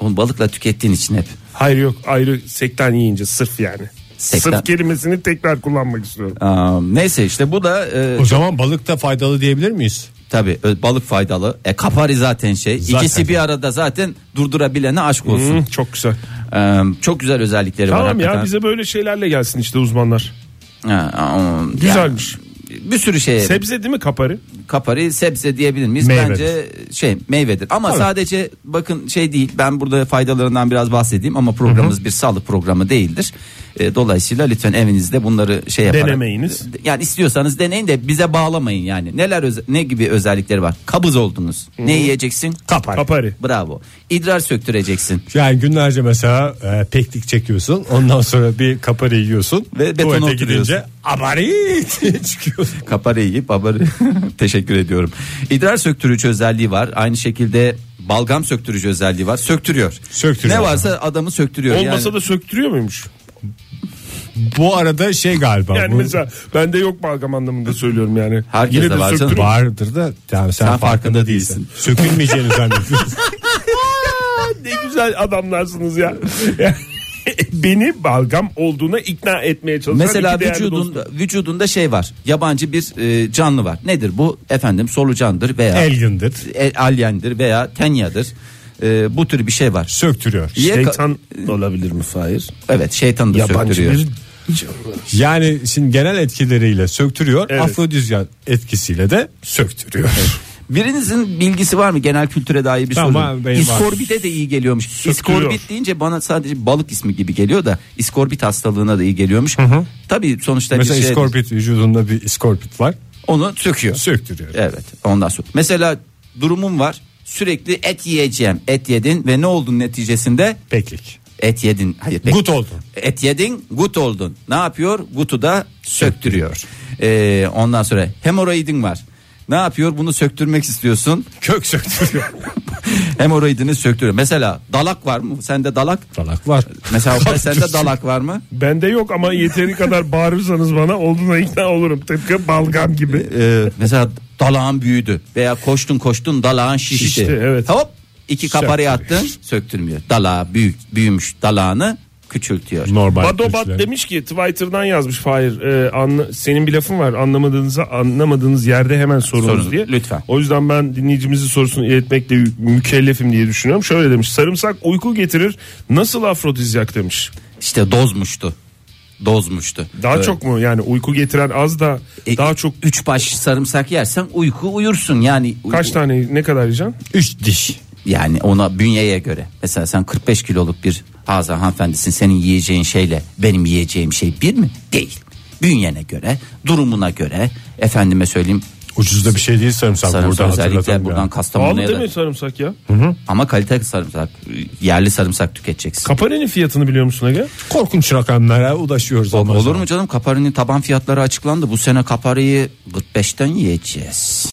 Speaker 4: onu balıkla tükettiğin için hep.
Speaker 5: Hayır yok ayrı sekten yiyince sırf yani.
Speaker 4: Sekten.
Speaker 5: Sırf kelimesini tekrar kullanmak istiyorum.
Speaker 4: Aa, neyse işte bu da e,
Speaker 6: O zaman balık da faydalı diyebilir miyiz?
Speaker 4: tabii e, balık faydalı. E, kapari zaten şey. İkisi bir arada zaten durdurabilene aşk olsun.
Speaker 5: Hı, çok güzel.
Speaker 4: E, çok güzel özellikleri var.
Speaker 5: Tamam ya
Speaker 4: hakikaten.
Speaker 5: bize böyle şeylerle gelsin işte uzmanlar.
Speaker 4: Ha, aa,
Speaker 5: Güzelmiş.
Speaker 4: ya, bir sürü şey.
Speaker 5: Sebze değil mi kapari?
Speaker 4: kapari sebze diyebilir miyiz?
Speaker 6: Meyvedir.
Speaker 4: Bence şey meyvedir. Ama sadece bakın şey değil. Ben burada faydalarından biraz bahsedeyim ama programımız bir sağlık programı değildir. E, dolayısıyla lütfen evinizde bunları şey yaparak
Speaker 5: Denemeyiniz.
Speaker 4: Yani istiyorsanız deneyin de bize bağlamayın yani. Neler öze- ne gibi özellikleri var? Kabız oldunuz. Ne yiyeceksin?
Speaker 6: Kapari.
Speaker 5: Kapari.
Speaker 4: Bravo. İdrar söktüreceksin
Speaker 6: Yani günlerce mesela e, peklik çekiyorsun. Ondan sonra bir kapari yiyorsun.
Speaker 4: ve betona
Speaker 6: Tuvalete
Speaker 4: oturuyorsun.
Speaker 6: gidince abari [laughs] diye çıkıyorsun.
Speaker 4: Kapare yiyip haberi. [laughs] Teşekkür ediyorum. İdrar söktürücü özelliği var. Aynı şekilde balgam söktürücü özelliği var. Söktürüyor.
Speaker 6: Söktürüyor.
Speaker 4: Ne varsa adamı söktürüyor.
Speaker 5: Olmasa
Speaker 4: yani.
Speaker 5: da söktürüyor muymuş?
Speaker 6: Bu arada şey galiba.
Speaker 5: Yani
Speaker 6: bu-
Speaker 5: mesela bende yok balgam anlamında söylüyorum yani.
Speaker 4: Herkes de var canım.
Speaker 5: söktürüyor.
Speaker 6: vardır da yani sen,
Speaker 4: Sen
Speaker 6: farkında
Speaker 4: farkında
Speaker 6: değilsin.
Speaker 4: değilsin.
Speaker 6: Sökülmeyeceğini
Speaker 4: [laughs]
Speaker 6: zannediyorsun.
Speaker 5: Ne güzel
Speaker 4: [laughs]
Speaker 5: adamlarsınız ya. Yani Beni balgam olduğuna ikna etmeye çalışan
Speaker 4: Mesela
Speaker 5: iki değerli
Speaker 4: vücudun,
Speaker 5: dostum.
Speaker 4: vücudunda şey var. Yabancı bir e, canlı var. Nedir bu? Efendim solucandır veya
Speaker 6: Elgindir.
Speaker 4: e, alyendir veya tenyadır. E, bu tür bir şey var.
Speaker 6: Söktürüyor.
Speaker 4: Ye-
Speaker 5: Şeytan olabilir mi Fahir?
Speaker 4: Evet şeytanı da söktürüyor.
Speaker 6: Yani şimdi genel etkileriyle söktürüyor.
Speaker 5: Evet.
Speaker 6: Afrodizyak etkisiyle de söktürüyor.
Speaker 4: Birinizin bilgisi var mı genel kültüre dair bir
Speaker 6: Tamam, benim
Speaker 4: soru?
Speaker 6: var.
Speaker 4: İskorbit'e de iyi geliyormuş.
Speaker 5: Söktürüyor.
Speaker 4: İskorbit deyince bana sadece balık ismi gibi geliyor da iskorbit hastalığına da iyi geliyormuş. Tabii sonuçta
Speaker 6: mesela
Speaker 4: bir şey
Speaker 6: iskorpit vücudunda bir iskorpit var.
Speaker 4: onu söküyor.
Speaker 6: Söktürüyor.
Speaker 4: Evet ondan sonra. Mesela durumum var sürekli et yiyeceğim. Et yedin ve ne oldun neticesinde?
Speaker 6: Peklik.
Speaker 4: Et yedin. Hayır. peki.
Speaker 6: Gut oldu.
Speaker 4: Et yedin, gut oldun. Ne yapıyor? Gutu da söktürüyor. Ee, ondan sonra hemoroidin var. Ne yapıyor? Bunu söktürmek istiyorsun.
Speaker 6: Kök söktürüyor.
Speaker 4: Hemoroidini söktürüyor. Mesela dalak var mı? Sende dalak.
Speaker 6: Dalak var.
Speaker 5: [laughs]
Speaker 4: Mesela Oktay, sende dalak var mı?
Speaker 5: Bende yok ama yeteri kadar bağırırsanız bana olduğuna ikna olurum. Tıpkı
Speaker 4: [laughs]
Speaker 5: balgam gibi.
Speaker 4: Ee, mesela dalağın büyüdü veya koştun koştun dalağın şişti.
Speaker 5: Şişti, evet.
Speaker 4: Hop iki kaparıya attın söktürmüyor. Dalağı büyük büyümüş dalağını küçültüyor.
Speaker 6: Normal.
Speaker 5: Badobat
Speaker 6: ölçüler.
Speaker 5: demiş ki Twitter'dan yazmış Fahir. e, anla- senin bir lafın var anlamadığınızı anlamadığınız yerde hemen sorunuz
Speaker 4: Sorun,
Speaker 5: diye.
Speaker 4: lütfen.
Speaker 5: O yüzden ben dinleyicimizin sorusunu iletmekle yü- mükellefim diye düşünüyorum. Şöyle demiş sarımsak uyku getirir nasıl afrodizyak demiş.
Speaker 4: İşte dozmuştu. Dozmuştu.
Speaker 5: Daha
Speaker 4: Evet.
Speaker 5: çok mu yani uyku getiren az da
Speaker 4: E,
Speaker 5: daha çok
Speaker 4: üç baş sarımsak yersen uyku uyursun yani. uy-
Speaker 5: kaç tane ne kadar yiyeceksin?
Speaker 6: Üç diş.
Speaker 4: Yani ona bünyeye göre. Mesela sen 45 kiloluk bir Hazan hanımefendisin. Senin yiyeceğin şeyle benim yiyeceğim şey bir mi? Değil. Bünyene göre, durumuna göre, efendime söyleyeyim
Speaker 6: Ucuz da bir şey değil sarımsak.
Speaker 4: sarımsak
Speaker 6: buradan hatırlatalım
Speaker 4: özellikle
Speaker 6: ya.
Speaker 4: buradan
Speaker 5: Pahalı
Speaker 4: Kastamonu'ya
Speaker 5: değil
Speaker 4: da.
Speaker 5: mi sarımsak ya?
Speaker 4: Ama kalite sarımsak, yerli sarımsak tüketeceksin.
Speaker 5: Kaparenin fiyatını biliyor musun Ege?
Speaker 6: Korkunç rakamlara ulaşıyoruz. ondan
Speaker 4: Olur
Speaker 6: sonra.
Speaker 4: mu canım? Kaparinin taban fiyatları açıklandı. Bu sene kaparayı 45'ten yiyeceğiz.